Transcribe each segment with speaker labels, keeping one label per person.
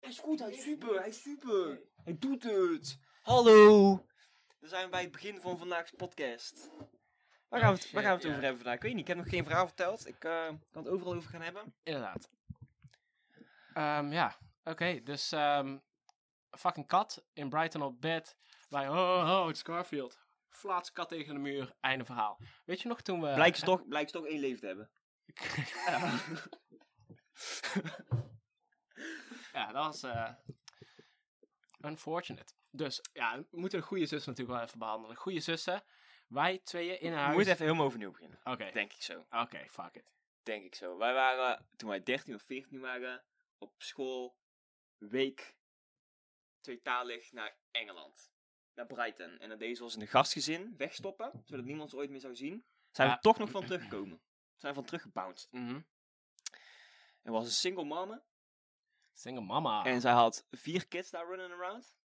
Speaker 1: is goed, hij is super, hij is super. Hij doet het. Hallo. Dan zijn we bij het begin van vandaag's podcast. Oh, Waar gaan we het, waar gaan we het
Speaker 2: Ja.
Speaker 1: over hebben vandaag? Ik weet niet, ik heb nog geen verhaal verteld. Ik eh, kan het overal over gaan hebben.
Speaker 2: Inderdaad. Ehm, ja, oké. dus ehm, fucking kat in Brighton op bed. Wij, oh, oh, het is Garfield. Vlaats kat tegen de muur. Einde verhaal. Weet je nog toen we...
Speaker 1: Blijkt ze toch, blijkt ze toch één leven te hebben.
Speaker 2: ja, dat was eh, unfortunate. Dus ja, we moeten de goede zus natuurlijk wel even behandelen. Goede zussen. Wij tweeën in
Speaker 1: We
Speaker 2: huis.
Speaker 1: moeten even helemaal overnieuw beginnen.
Speaker 2: Oké,
Speaker 1: Denk ik zo.
Speaker 2: oké, fuck it.
Speaker 1: Denk ik zo. Wij waren, toen wij 13 of 14 waren, op school, week, tweetalig naar Engeland. Naar Brighton. En dan deden ze ons in een gastgezin wegstoppen, zodat niemand ons ooit meer zou zien. Zijn
Speaker 2: Ja.
Speaker 1: we toch nog van teruggekomen. Zijn we van teruggebounced.
Speaker 2: Mhm.
Speaker 1: En was een single mama.
Speaker 2: Single mama.
Speaker 1: En zij had vier kids daar running around.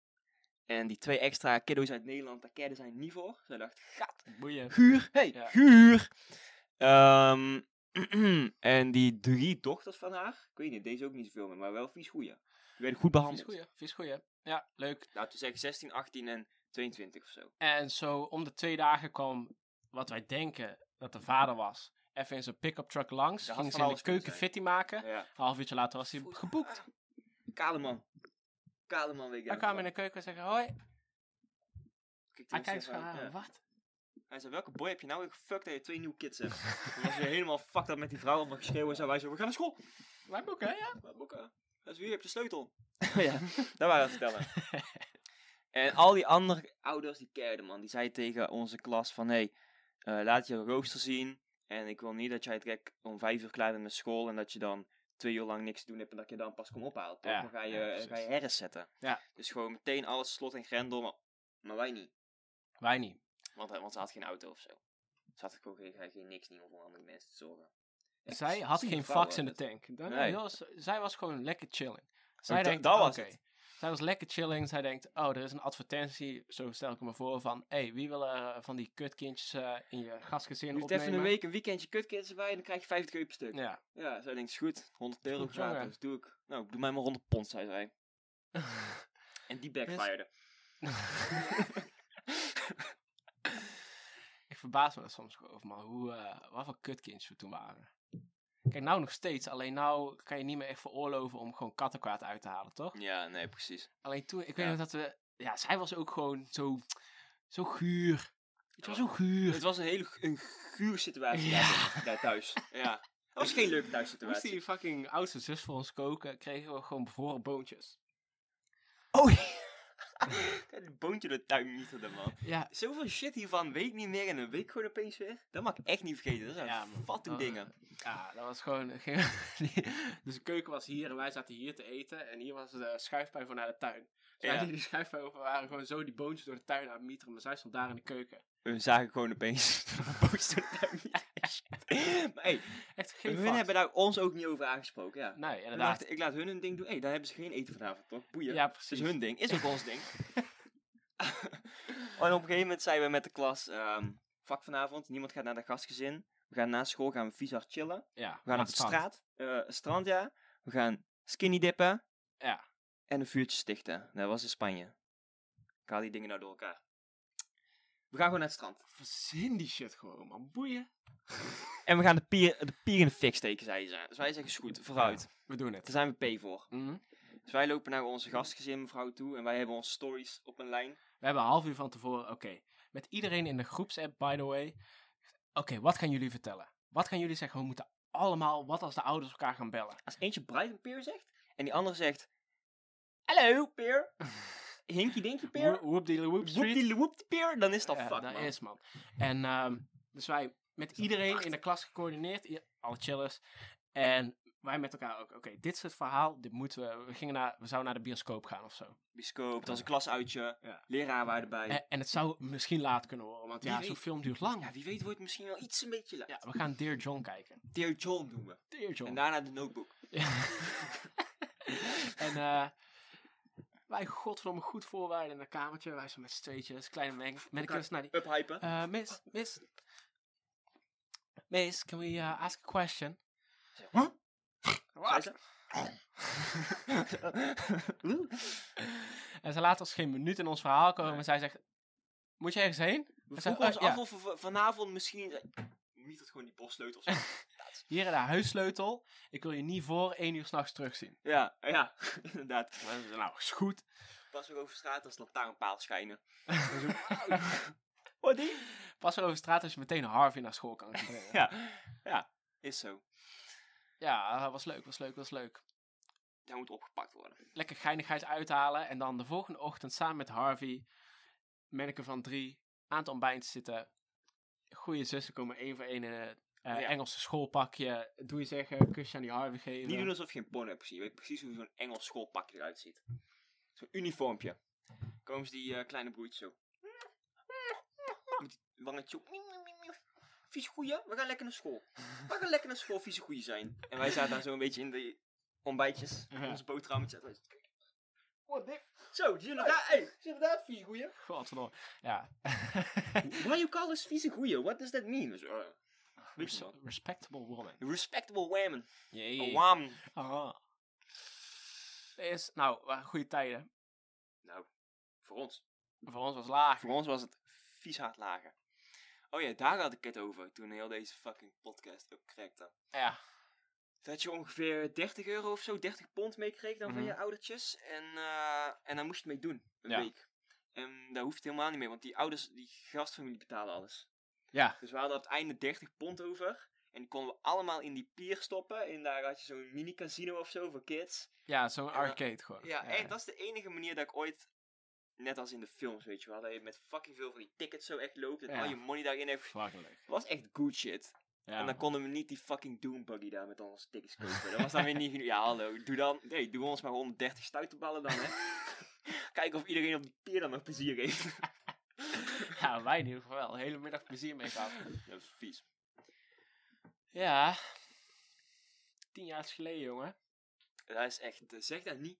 Speaker 1: En die twee extra kiddo's uit Nederland, daar keerde zij niet voor. Zij dacht, gat,
Speaker 2: Boeien.
Speaker 1: Guur, hey,
Speaker 2: Ja.
Speaker 1: Guur. Ehm, en die drie dochters van haar, ik weet niet, deze ook niet zoveel meer, maar wel vies goeie. Die werden goed
Speaker 2: Vies
Speaker 1: behandeld.
Speaker 2: goeie, vies goeie. Ja, leuk.
Speaker 1: Nou, toen zeg ik 16, 18 en 22 of zo.
Speaker 2: En zo om de twee dagen kwam wat wij denken dat de vader was. Even in zijn pick-up truck langs.
Speaker 1: Ze had
Speaker 2: Ging
Speaker 1: van
Speaker 2: ze in de
Speaker 1: alles kunnen
Speaker 2: keuken
Speaker 1: zijn.
Speaker 2: fitty maken.
Speaker 1: Ja.
Speaker 2: Half uurtje later was hij geboekt.
Speaker 1: Kale man. Kale man weet ik
Speaker 2: Hij kwam in de keuken en zei hoi. Hij kijkt zo aan, wat?
Speaker 1: Hij zei, welke boy heb je nou weer gefuckt dat je twee nieuwe kids hebt? Toen was hij helemaal fucked up met die vrouw allemaal geschreeuwen. Zei wij zo, we gaan naar school.
Speaker 2: Wij boeken, hè, ja?
Speaker 1: Maar boeken. Dat is wie, je hebt de sleutel.
Speaker 2: Oh
Speaker 1: ja, dat waren we vertellen. en al die andere ouders die kerden, man. Die zeiden tegen onze klas van, hé, hey, eh, laat je rooster zien. En ik wil niet dat jij direct om vijf uur klaar bent met school en dat je dan twee uur lang niks te doen hebt en dat je dan pas komt ophalen. toch?
Speaker 2: Ja,
Speaker 1: dan ga je,
Speaker 2: ja,
Speaker 1: eh,
Speaker 2: precies.
Speaker 1: ga je herres zetten.
Speaker 2: Ja.
Speaker 1: Dus gewoon meteen alles slot en grendel, maar, maar wij niet.
Speaker 2: Wij niet.
Speaker 1: Want, eh, want ze had geen auto of zo. Ze had gewoon geen, geen- geen niks niet om voor andere mensen te zorgen. Echt
Speaker 2: Zij
Speaker 1: zie-
Speaker 2: had
Speaker 1: zie je
Speaker 2: geen
Speaker 1: vrouwen,
Speaker 2: fax in de
Speaker 1: dat-
Speaker 2: tank. Dat-
Speaker 1: Nee.
Speaker 2: dat was- zij was gewoon lekker chilling. Zij
Speaker 1: dat-
Speaker 2: denkt,
Speaker 1: dat was
Speaker 2: oké.
Speaker 1: het.
Speaker 2: Zij was lekker chilling. Zij denkt, oh, er is een advertentie. Zo stel ik me voor van, hé, hey, wie wil er van die kutkindjes eh, in je gastgezin
Speaker 1: Je doet
Speaker 2: opnemen?
Speaker 1: Dus even een week een weekendje kutkits erbij en dan krijg je 50 euro per stuk.
Speaker 2: Ja.
Speaker 1: Ja, zij denkt, is goed, 100 euro
Speaker 2: Goed, jongen.
Speaker 1: gratis, doe ik. Nou, doe mij maar 100 pond, zei zij. En die backfired.
Speaker 2: ik verbaas me er soms gewoon over, man. Hoe, eh wat voor kutkindjes we toen waren. Kijk, nou nog steeds. Alleen nou kan je niet meer echt veroorloven om gewoon kattenkwaad uit te halen, toch?
Speaker 1: Ja, nee, precies.
Speaker 2: Alleen toen, ik weet
Speaker 1: Ja.
Speaker 2: nog dat we... Ja, zij was ook gewoon zo... Zo guur. Het was zo guur.
Speaker 1: Het was een hele gu- een guur situatie
Speaker 2: Ja.
Speaker 1: daar, daar thuis. Ja. Dat was geen leuke
Speaker 2: Moest
Speaker 1: thuissituatie.
Speaker 2: die fucking oudste zus voor ons koken, kregen we gewoon bevroren boontjes.
Speaker 1: Oh, Het boontje de tuin niet hadden, man.
Speaker 2: Ja.
Speaker 1: Zoveel shit hiervan, weet ik niet meer en een week gewoon opeens weer. Dat mag ik echt niet vergeten, dat zijn
Speaker 2: Ja,
Speaker 1: ja,
Speaker 2: man. Oh.
Speaker 1: fatsoen
Speaker 2: Dat-
Speaker 1: dingen.
Speaker 2: Ja, dat was gewoon... geen- die- dus de keuken was hier en wij zaten hier te eten. En hier was de schuifpui voor naar de tuin. Dus wij
Speaker 1: Ja.
Speaker 2: deden die schuifpui over, waren gewoon zo die boontjes door de tuin aan het mieteren. Maar zij stond daar in de keuken.
Speaker 1: We zagen gewoon opeens een boontje door de tuin niet. Maar hey,
Speaker 2: Echt geen
Speaker 1: hun
Speaker 2: fuck.
Speaker 1: hebben daar ons ook niet over aangesproken, ja.
Speaker 2: Nee,
Speaker 1: Ik
Speaker 2: inderdaad.
Speaker 1: laat, ik laat hun hun ding doen. Hé, hey, daar hebben ze geen eten vanavond, toch? Boeien.
Speaker 2: Ja,
Speaker 1: is
Speaker 2: precies.
Speaker 1: hun ding. Is ook ons ding. en op een gegeven moment zijn we met de klas ehm, vak vanavond. Niemand gaat naar de gastgezin. We gaan na school gaan we vies hard chillen.
Speaker 2: Ja,
Speaker 1: We gaan op
Speaker 2: aan het
Speaker 1: het
Speaker 2: strand.
Speaker 1: straat. eh, strand, ja. We gaan skinny dippen.
Speaker 2: Ja.
Speaker 1: En een vuurtje stichten. Dat was in Spanje. Ik haal die dingen nou door elkaar. We gaan gewoon naar het strand.
Speaker 2: Verzin die shit gewoon, man. Boeien.
Speaker 1: En we gaan de pier, de pier in de fik steken, zeiden ze. Dus wij zeggen, is goed, vooruit.
Speaker 2: We doen het.
Speaker 1: Daar zijn we P voor.
Speaker 2: Mhm.
Speaker 1: Dus wij lopen naar onze gastgezin mevrouw toe en wij hebben onze stories op een lijn.
Speaker 2: We hebben een half uur van tevoren, oké. met iedereen in de groepsapp, by the way. Oké, wat gaan jullie vertellen? Wat gaan jullie zeggen? We moeten allemaal, wat als de ouders elkaar gaan bellen?
Speaker 1: Als eentje Brighton Peer zegt en die andere zegt, hallo Peer, Hinky Dinky Peer,
Speaker 2: Woep woep die woep
Speaker 1: woep
Speaker 2: street.
Speaker 1: die woep die Peer, dan is dat
Speaker 2: Ja, nou,
Speaker 1: fuck
Speaker 2: dat
Speaker 1: man.
Speaker 2: is man. En ehm, dus wij met iedereen
Speaker 1: apart.
Speaker 2: in de klas gecoördineerd, i- alle chillers. En wij met elkaar ook, oké, dit is het verhaal, dit moeten we, we, gingen naar, we zouden naar de bioscoop gaan of zo.
Speaker 1: Biscoop, dat is een klasuitje,
Speaker 2: Ja.
Speaker 1: leraar waren erbij.
Speaker 2: En, en het zou misschien laat kunnen worden, want
Speaker 1: Wie
Speaker 2: ja,
Speaker 1: weet.
Speaker 2: zo'n film duurt lang.
Speaker 1: Ja, wie weet wordt het misschien wel iets een beetje laat.
Speaker 2: Ja, we gaan Dear John kijken.
Speaker 1: Dear John doen we.
Speaker 2: Dear John.
Speaker 1: En daarna de notebook.
Speaker 2: Ja. en eh wij godverdomme goed voorwaarden in een kamertje. Wij zijn met z'n tweetjes, kleine men mannekes naar die...
Speaker 1: Uphypen.
Speaker 2: eh miss, miss. Miss, can we eh, ask a question?
Speaker 1: Huh? Zei ze,
Speaker 2: En ze laat ons geen minuut in ons verhaal komen.
Speaker 1: Nee.
Speaker 2: En zij zegt, moet je ergens heen?
Speaker 1: We
Speaker 2: Ze-
Speaker 1: vroegen ons
Speaker 2: eh, ja.
Speaker 1: af of we v- vanavond misschien... Niet dat gewoon die postsleutels.
Speaker 2: Hier in haar huissleutel. Ik wil je niet voor één uur s'nachts terugzien.
Speaker 1: ja, ja, inderdaad.
Speaker 2: Maar ze zei, Nou, is goed.
Speaker 1: Pas weer over straat als lantaarnpaal schijnen. Dan zo, wauw. Wat die?
Speaker 2: Pas wel Dus over straat als je meteen Harvey naar school kan brengen. ja,
Speaker 1: Ja, ja, is zo.
Speaker 2: ja, was leuk, was leuk, was leuk.
Speaker 1: Daar moet opgepakt worden.
Speaker 2: Lekker geinigheid uithalen. En dan de volgende ochtend samen met Harvey, manneke van drie, aan het ontbijt zitten. Goeie zussen komen één voor één in het eh,
Speaker 1: Ja.
Speaker 2: Engelse schoolpakje. Doe je zeggen, kusje aan die Harvey geven.
Speaker 1: Niet doen alsof je een porno hebt gezien. Je weet precies hoe zo'n Engels schoolpakje eruit ziet. Zo'n uniformpje. Komen ze die eh, kleine broertjes zo. Met die wangetje op. Vieze goeie, we gaan lekker naar school. We gaan lekker naar school, vieze goeie zijn. En wij zaten daar zo een beetje in de ontbijtjes.
Speaker 2: Ja.
Speaker 1: Onze boterhammetjes. Wat dik. Zo, die is inderdaad, hey, die is inderdaad vieze goeie.
Speaker 2: Godverdomme. Ja.
Speaker 1: Why you call us vieze goeie? What does that mean? Dus, eh, weet je
Speaker 2: Res-
Speaker 1: wel.
Speaker 2: respectable woman.
Speaker 1: Respectable women.
Speaker 2: Jee.
Speaker 1: A woman.
Speaker 2: Aha. Er Is, nou, waren goede tijden.
Speaker 1: Nou, voor ons.
Speaker 2: Voor ons was laag.
Speaker 1: Voor ons was het vies hard lager. Oh ja, daar had ik het over toen heel deze fucking podcast opkrekte.
Speaker 2: Ja.
Speaker 1: Dat je ongeveer 30 euro of zo, 30 pond meekreeg dan van
Speaker 2: Mhm.
Speaker 1: je oudertjes. En, eh, en daar moest je mee doen, een
Speaker 2: Ja.
Speaker 1: week. En daar hoeft het helemaal niet mee, want die ouders, die gastfamilie betalen alles.
Speaker 2: Ja.
Speaker 1: Dus we hadden op het einde 30 pond over. En die konden we allemaal in die pier stoppen. En daar had je zo'n mini casino of zo voor kids.
Speaker 2: Ja, zo'n
Speaker 1: Ja.
Speaker 2: arcade gewoon.
Speaker 1: Ja, echt, dat is de enige manier dat ik ooit, net als in de films, weet je wel, dat je met fucking veel van die tickets zo echt loopt en
Speaker 2: Ja.
Speaker 1: al je money daarin hebt.
Speaker 2: Fucking leuk.
Speaker 1: was echt good shit.
Speaker 2: Ja,
Speaker 1: en dan konden we niet die fucking Doom Buggy daar met onze tickets kopen. Dat was dan weer niet genoeg. Ja, hallo, doe dan, nee, doe ons maar 130 stuiterballen dan, hè. Kijken of iedereen op die pier dan nog plezier heeft.
Speaker 2: man. ja, wij in ieder geval wel. De hele middag plezier mee gehad.
Speaker 1: dat is vies.
Speaker 2: ja. Tien jaar geleden, jongen.
Speaker 1: Dat is echt, eh, zeg dat niet.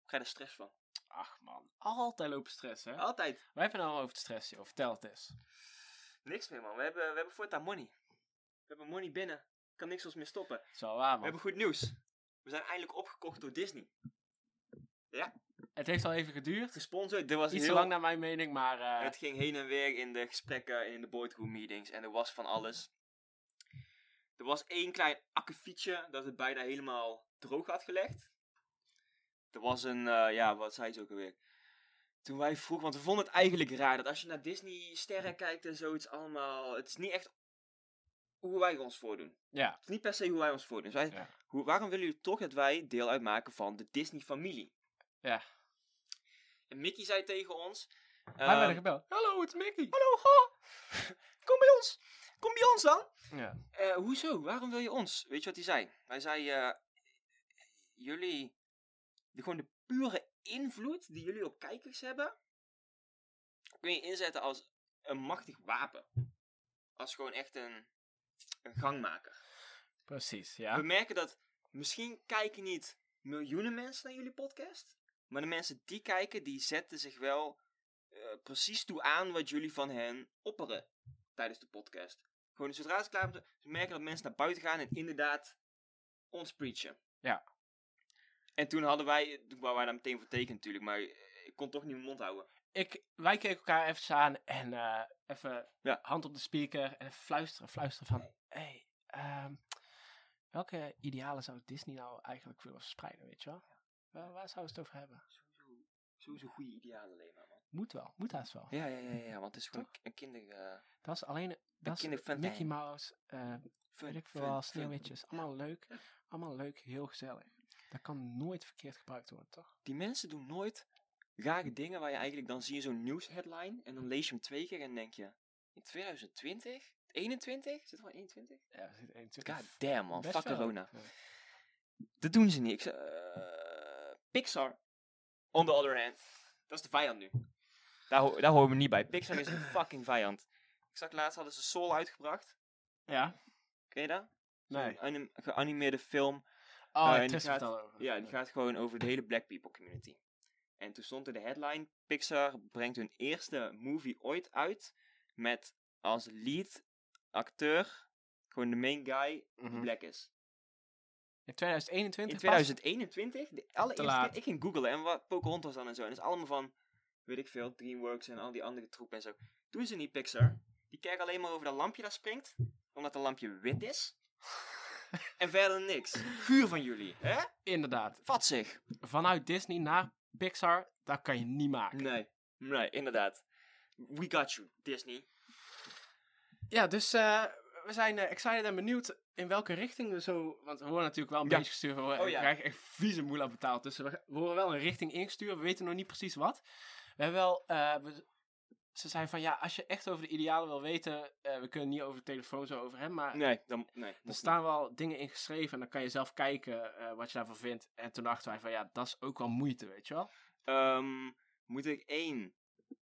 Speaker 1: Ik krijg er stress van.
Speaker 2: Ach man, altijd lopen stress, hè?
Speaker 1: Altijd.
Speaker 2: Wij hebben nou over te stressen, joh. Vertel het eens.
Speaker 1: Niks meer, man. We hebben, we hebben voortaan money. We hebben money binnen. Kan niks ons meer stoppen.
Speaker 2: Dat is wel waar,
Speaker 1: We
Speaker 2: man.
Speaker 1: hebben goed nieuws. We zijn eindelijk opgekocht door Disney.
Speaker 2: Het heeft al even geduurd.
Speaker 1: Gesponsord, dit was
Speaker 2: Iets te
Speaker 1: heel...
Speaker 2: lang naar mijn mening, maar... eh,
Speaker 1: Het ging heen en weer in de gesprekken en in de boardroom meetings en er was van alles. Er was één klein akkefietje dat het bijna helemaal droog had gelegd. Er was een, eh, ja, wat zei ze ook alweer? Toen wij vroegen, want we vonden het eigenlijk raar dat als je naar Disney-sterren kijkt en zoiets allemaal, het is niet echt hoe wij ons voordoen.
Speaker 2: Ja.
Speaker 1: Het is niet per se hoe wij ons voordoen. Dus wij,
Speaker 2: Ja.
Speaker 1: hoe, waarom willen jullie toch dat wij deel uitmaken van de Disney-familie?
Speaker 2: Ja.
Speaker 1: En Mickey zei tegen ons...
Speaker 2: Wij
Speaker 1: ehm,
Speaker 2: werden gebeld. Hallo, het is Mickey.
Speaker 1: Hallo, ha! Kom bij ons! Kom bij ons dan!
Speaker 2: Ja.
Speaker 1: Eh, hoezo? Waarom wil je ons? Weet je wat hij zei? Hij zei, eh, jullie, de, gewoon de pure invloed die jullie op kijkers hebben, kun je inzetten als een machtig wapen. Als gewoon echt een, een gangmaker.
Speaker 2: Precies,
Speaker 1: We
Speaker 2: ja.
Speaker 1: merken dat misschien kijken niet miljoenen mensen naar jullie podcast, maar de mensen die kijken, die zetten zich wel eh, precies toe aan wat jullie van hen opperen tijdens de podcast. Gewoon zodra ze klaar zijn, ze merken dat mensen naar buiten gaan en inderdaad ons preachen.
Speaker 2: Ja.
Speaker 1: En toen hadden wij, toen waren wij daar meteen voor tekenen natuurlijk, maar eh, ik kon toch niet mijn mond houden.
Speaker 2: Ik, wij keken elkaar even aan en eh, even
Speaker 1: Ja.
Speaker 2: hand op de speaker en even fluisteren, fluisteren van... hey, ehm, welke idealen zou Disney nou eigenlijk willen verspreiden, weet je wel? Waar, waar zouden ze het over hebben?
Speaker 1: Sowieso, sowieso goede idealen alleen maar, man.
Speaker 2: Moet wel, moet haast wel.
Speaker 1: Ja, ja, ja, ja, want het is gewoon een kinder... eh,
Speaker 2: Dat is alleen... Dat is
Speaker 1: kinderfantijn.
Speaker 2: Mickey Mouse, eh
Speaker 1: fun,
Speaker 2: weet ik veel,
Speaker 1: fun, fun.
Speaker 2: wel, sneeuwwitjes. Allemaal leuk, allemaal leuk, heel gezellig. Dat kan nooit verkeerd gebruikt worden, toch?
Speaker 1: die mensen doen nooit
Speaker 2: Hm.
Speaker 1: rare dingen waar je eigenlijk dan zie je zo'n nieuwsheadline en dan lees je hem twee keer en denk je in 2020, 21, zit er wel 21?
Speaker 2: Ja, er zit één, natuurlijk
Speaker 1: God damn man,
Speaker 2: best
Speaker 1: fuck
Speaker 2: wel.
Speaker 1: corona.
Speaker 2: Ja.
Speaker 1: Dat doen ze niet. Ik zei, eh, Pixar, on the other hand, dat is de vijand nu. Daar, ho- daar horen we niet bij. Pixar is een fucking vijand. Ik zag laatst hadden ze Soul uitgebracht.
Speaker 2: Ja? Oh,
Speaker 1: Ken je dat? Zo'n
Speaker 2: Nee.
Speaker 1: anim- geanimeerde film
Speaker 2: Oh,
Speaker 1: Nou, en
Speaker 2: ik
Speaker 1: die
Speaker 2: twist het
Speaker 1: gaat-
Speaker 2: al over.
Speaker 1: Ja, die gaat gewoon over de hele black people community. En toen stond er de headline: Pixar brengt hun eerste movie ooit uit. Met als lead acteur, gewoon de main guy, die
Speaker 2: Mhm.
Speaker 1: black is.
Speaker 2: In 2021?
Speaker 1: In
Speaker 2: pas?
Speaker 1: 2021, de allereerste
Speaker 2: laat.
Speaker 1: keer, ik ging googlen en wat Pocahontas dan en zo. En dat is allemaal van, weet ik veel, DreamWorks en al die andere troep en zo. Doen ze niet Pixar. Die kijken alleen maar over dat lampje dat springt, omdat dat lampje wit is. en verder niks. Guur van jullie, hè?
Speaker 2: Inderdaad.
Speaker 1: Vat zich.
Speaker 2: Vanuit Disney naar Pixar, dat kan je niet maken.
Speaker 1: Nee, nee, inderdaad. We got you, Disney.
Speaker 2: Ja, dus eh, we zijn eh, excited en benieuwd in welke richting we zo... Want we worden natuurlijk wel een
Speaker 1: Ja.
Speaker 2: beetje gestuurd. We, worden-
Speaker 1: Oh, ja.
Speaker 2: we krijgen echt vieze moela betaald. Dus we, we worden wel een richting ingestuurd. We weten nog niet precies wat. We hebben wel... eh, we- ze zijn van, ja, als je echt over de idealen wil weten... eh, we kunnen niet over de telefoon zo over hem, maar...
Speaker 1: Nee, dan, nee.
Speaker 2: Er
Speaker 1: mocht
Speaker 2: staan wel dingen in geschreven en dan kan je zelf kijken eh, wat je daarvan vindt. En toen dachten wij van ja, dat is ook wel moeite, weet je wel.
Speaker 1: niet. Ehm, moet ik één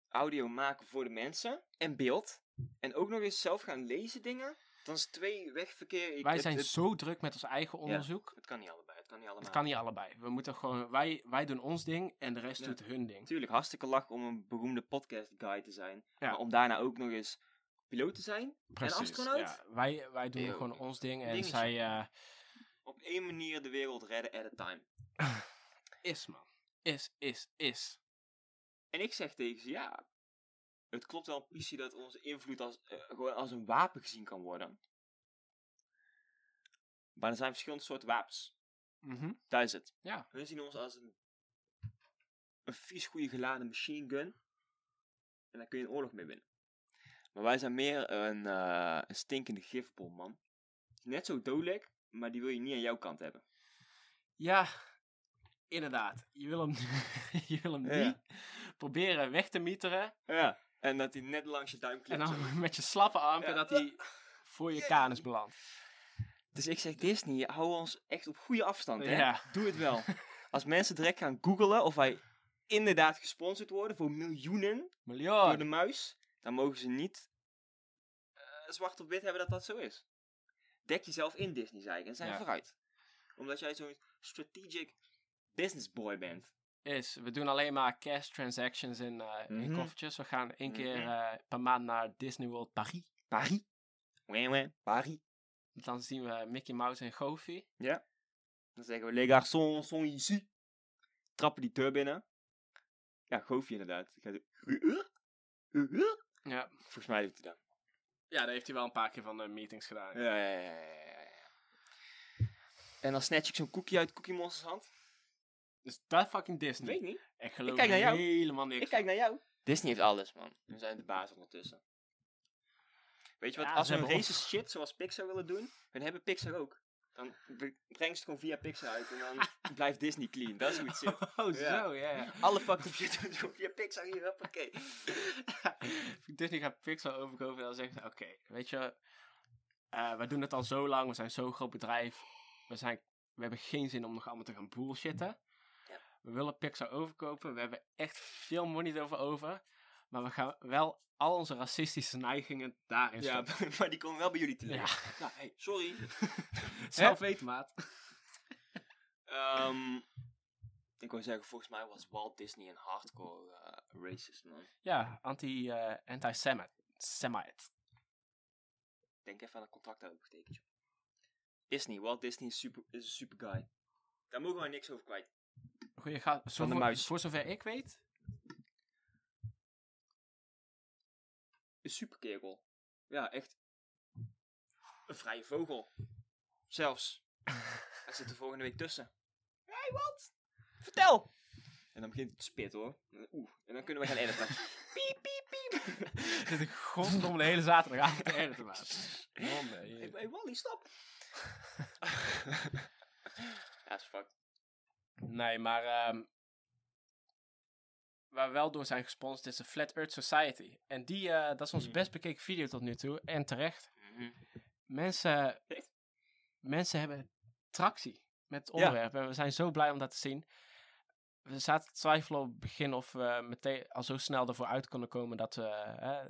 Speaker 1: audio maken voor de mensen en beeld. En ook nog eens zelf gaan lezen dingen. Dan is twee wegverkeer. Ik-
Speaker 2: wij
Speaker 1: het-
Speaker 2: zijn
Speaker 1: het-
Speaker 2: zo druk met ons eigen onderzoek.
Speaker 1: Het kan niet allebei, het kan niet allemaal.
Speaker 2: Het kan niet allebei. We moeten gewoon, wij, wij doen ons ding en de rest
Speaker 1: Ja.
Speaker 2: doet hun ding.
Speaker 1: Natuurlijk, hartstikke lach om een beroemde podcast guy te zijn.
Speaker 2: Ja.
Speaker 1: Maar om daarna ook nog eens piloot te zijn.
Speaker 2: Precies.
Speaker 1: astronaut?
Speaker 2: ja. wij, wij doen
Speaker 1: Eeuw.
Speaker 2: gewoon ons ding en
Speaker 1: Dingetje.
Speaker 2: zij eh,
Speaker 1: Op één manier de wereld redden at a time.
Speaker 2: eh, is man. Is, is, is.
Speaker 1: En ik zeg tegen ze, ja, het klopt wel precies dat onze invloed als, eh, gewoon als een wapen gezien kan worden. Maar er zijn verschillende soorten wapens.
Speaker 2: Mhm.
Speaker 1: Daar is het.
Speaker 2: Ja.
Speaker 1: Hun zien ons als een, een vies goede geladen machine gun. En daar kun je een oorlog mee winnen. Maar wij zijn meer een, eh, een stinkende gifbom, man. Net zo dodelijk, maar die wil je niet aan jouw kant hebben.
Speaker 2: Ja, inderdaad. Je wil hem, je wil hem
Speaker 1: Ja.
Speaker 2: niet proberen weg te mieteren.
Speaker 1: Ja. En dat hij net langs je duim
Speaker 2: En
Speaker 1: klikt. zo.
Speaker 2: dan met je slappe arm
Speaker 1: Ja.
Speaker 2: dat hij voor je kanus belandt.
Speaker 1: Dus ik zeg Disney, hou ons echt op goede afstand, hè.
Speaker 2: Ja.
Speaker 1: Doe het wel. Als mensen direct gaan googelen of wij inderdaad gesponsord worden voor miljoenen door
Speaker 2: Miljoen.
Speaker 1: de muis, dan mogen ze niet eh, zwart op wit hebben dat dat zo is. Dek jezelf in Disney, zei ik, en zijn
Speaker 2: Ja.
Speaker 1: vooruit. Omdat jij zo'n strategic business boy bent.
Speaker 2: Is, we doen alleen maar cash transactions in, eh, in
Speaker 1: Mhm.
Speaker 2: koffertjes. We gaan één keer
Speaker 1: Mhm.
Speaker 2: eh, per maand naar Disney World Paris.
Speaker 1: Paris. Ouais, ouais, Paris.
Speaker 2: Dan zien we Mickey Mouse en Goofy.
Speaker 1: Dan zeggen we, les garçons sont ici. Trappen die deur binnen. Ja, goofje inderdaad. Die gaat zo-
Speaker 2: Ja.
Speaker 1: Volgens mij doet hij dat.
Speaker 2: ja, daar heeft hij wel een paar keer van de meetings gedaan.
Speaker 1: Ja, ja, ja, ja, ja, ja. En dan snatch ik zo'n koekje uit Cookie Monsters hand.
Speaker 2: Dus dat fucking Disney.
Speaker 1: Weet ik niet.
Speaker 2: Ik geloof
Speaker 1: kijk naar jou.
Speaker 2: helemaal niks.
Speaker 1: Ik kijk naar jou. Disney heeft alles, man. We zijn de baas ondertussen. Weet je wat,
Speaker 2: Ja,
Speaker 1: als
Speaker 2: ze
Speaker 1: we een
Speaker 2: hebben
Speaker 1: racist shit zoals Pixar willen doen, dan hebben Pixar ook. Dan be- breng ze het gewoon via Pixar uit en dan blijft Disney clean. Dat is hoe het zit.
Speaker 2: Oh,
Speaker 1: Ja.
Speaker 2: zo, ja, ja.
Speaker 1: Alle fucked up shit doen ze via Pixar hier, hoppakee.
Speaker 2: Disney gaat Pixar overkopen en dan zegt ze, oké, weet je, eh, we doen het al zo lang, we zijn zo'n groot bedrijf, we, zijn, we hebben geen zin om nog allemaal te gaan bullshitten.
Speaker 1: Ja.
Speaker 2: We willen Pixar overkopen, we hebben echt veel money erover over, maar we gaan wel al onze racistische neigingen daarin
Speaker 1: Ja,
Speaker 2: stoppen.
Speaker 1: maar die komen wel bij jullie te
Speaker 2: Ja.
Speaker 1: liggen. Nou, hey, sorry.
Speaker 2: Zelf weten, maat.
Speaker 1: Ehm, ik wou zeggen, volgens mij was Walt Disney een hardcore eh, racist, man.
Speaker 2: Ja, anti, eh anti-Semite. Semite.
Speaker 1: Denk even aan een contract dat we getekend joh. Disney, Walt Disney is, super, is een super guy. Daar mogen wij niks over kwijt.
Speaker 2: Goeie gaat
Speaker 1: Van de muis.
Speaker 2: Voor zover ik weet,
Speaker 1: Een super kerel. Ja, echt. Een vrije vogel. Zelfs. Hij zit er volgende week tussen. Hey, Walt! Vertel! En dan begint het te spitten hoor. En, Oeh, en dan kunnen we gaan editen. piep, piep, piep.
Speaker 2: zit ik godverdomme de hele zaterdagavond te editen, maat. Man,
Speaker 1: Hey,
Speaker 2: nee.
Speaker 1: hey, Wally, stop! ja, is fuck.
Speaker 2: Nee, maar ehm, waar we wel door zijn gesponsord is de Flat Earth Society. En die, eh, dat is onze
Speaker 1: Mhm.
Speaker 2: best bekeken video tot nu toe. En terecht. Mensen,
Speaker 1: Echt?
Speaker 2: mensen hebben tractie met het onderwerp. En we zijn zo blij om dat te zien. We zaten te twijfelen op het begin of we meteen al zo snel ervoor uit konden komen dat we eh,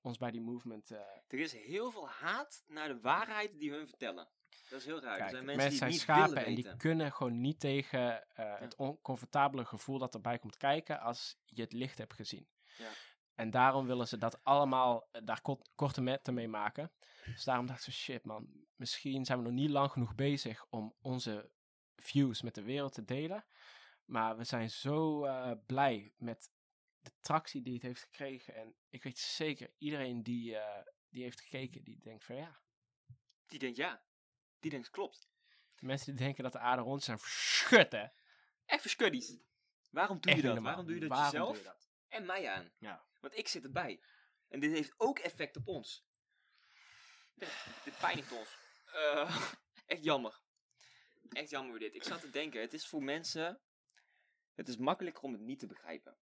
Speaker 2: ons bij die movement... eh,
Speaker 1: Er is heel veel haat naar de waarheid die hun vertellen. Dat is heel raar.
Speaker 2: kijken.
Speaker 1: er zijn mensen, die het niet
Speaker 2: schapen
Speaker 1: willen
Speaker 2: en
Speaker 1: weten.
Speaker 2: die kunnen gewoon niet tegen eh, het oncomfortabele gevoel dat erbij komt kijken als je het licht hebt gezien.
Speaker 1: Ja.
Speaker 2: En daarom willen ze dat allemaal eh, daar kort, korte metten mee maken. Dus daarom dacht ik zo, shit man, misschien zijn we nog niet lang genoeg bezig om onze views met de wereld te delen. Maar we zijn zo eh, blij met de tractie die het heeft gekregen. En ik weet zeker, iedereen die, eh, die heeft gekeken, die denkt van ja.
Speaker 1: Die denkt ja. Die denkt klopt.
Speaker 2: De mensen die denken dat de aarde rond zijn, schut hè.
Speaker 1: Echt voor scuddies. Waarom doe
Speaker 2: Echt
Speaker 1: je dat?
Speaker 2: niet normaal.
Speaker 1: Waarom doe je dat
Speaker 2: Waarom
Speaker 1: jezelf
Speaker 2: doe je dat?
Speaker 1: en mij aan?
Speaker 2: Ja.
Speaker 1: Want ik zit erbij. En dit heeft ook effect op ons. Dit- Dit pijnigt ons. Eh, echt jammer. Echt jammer dit. Ik zat te denken, het is voor mensen... Het is makkelijker om het niet te begrijpen.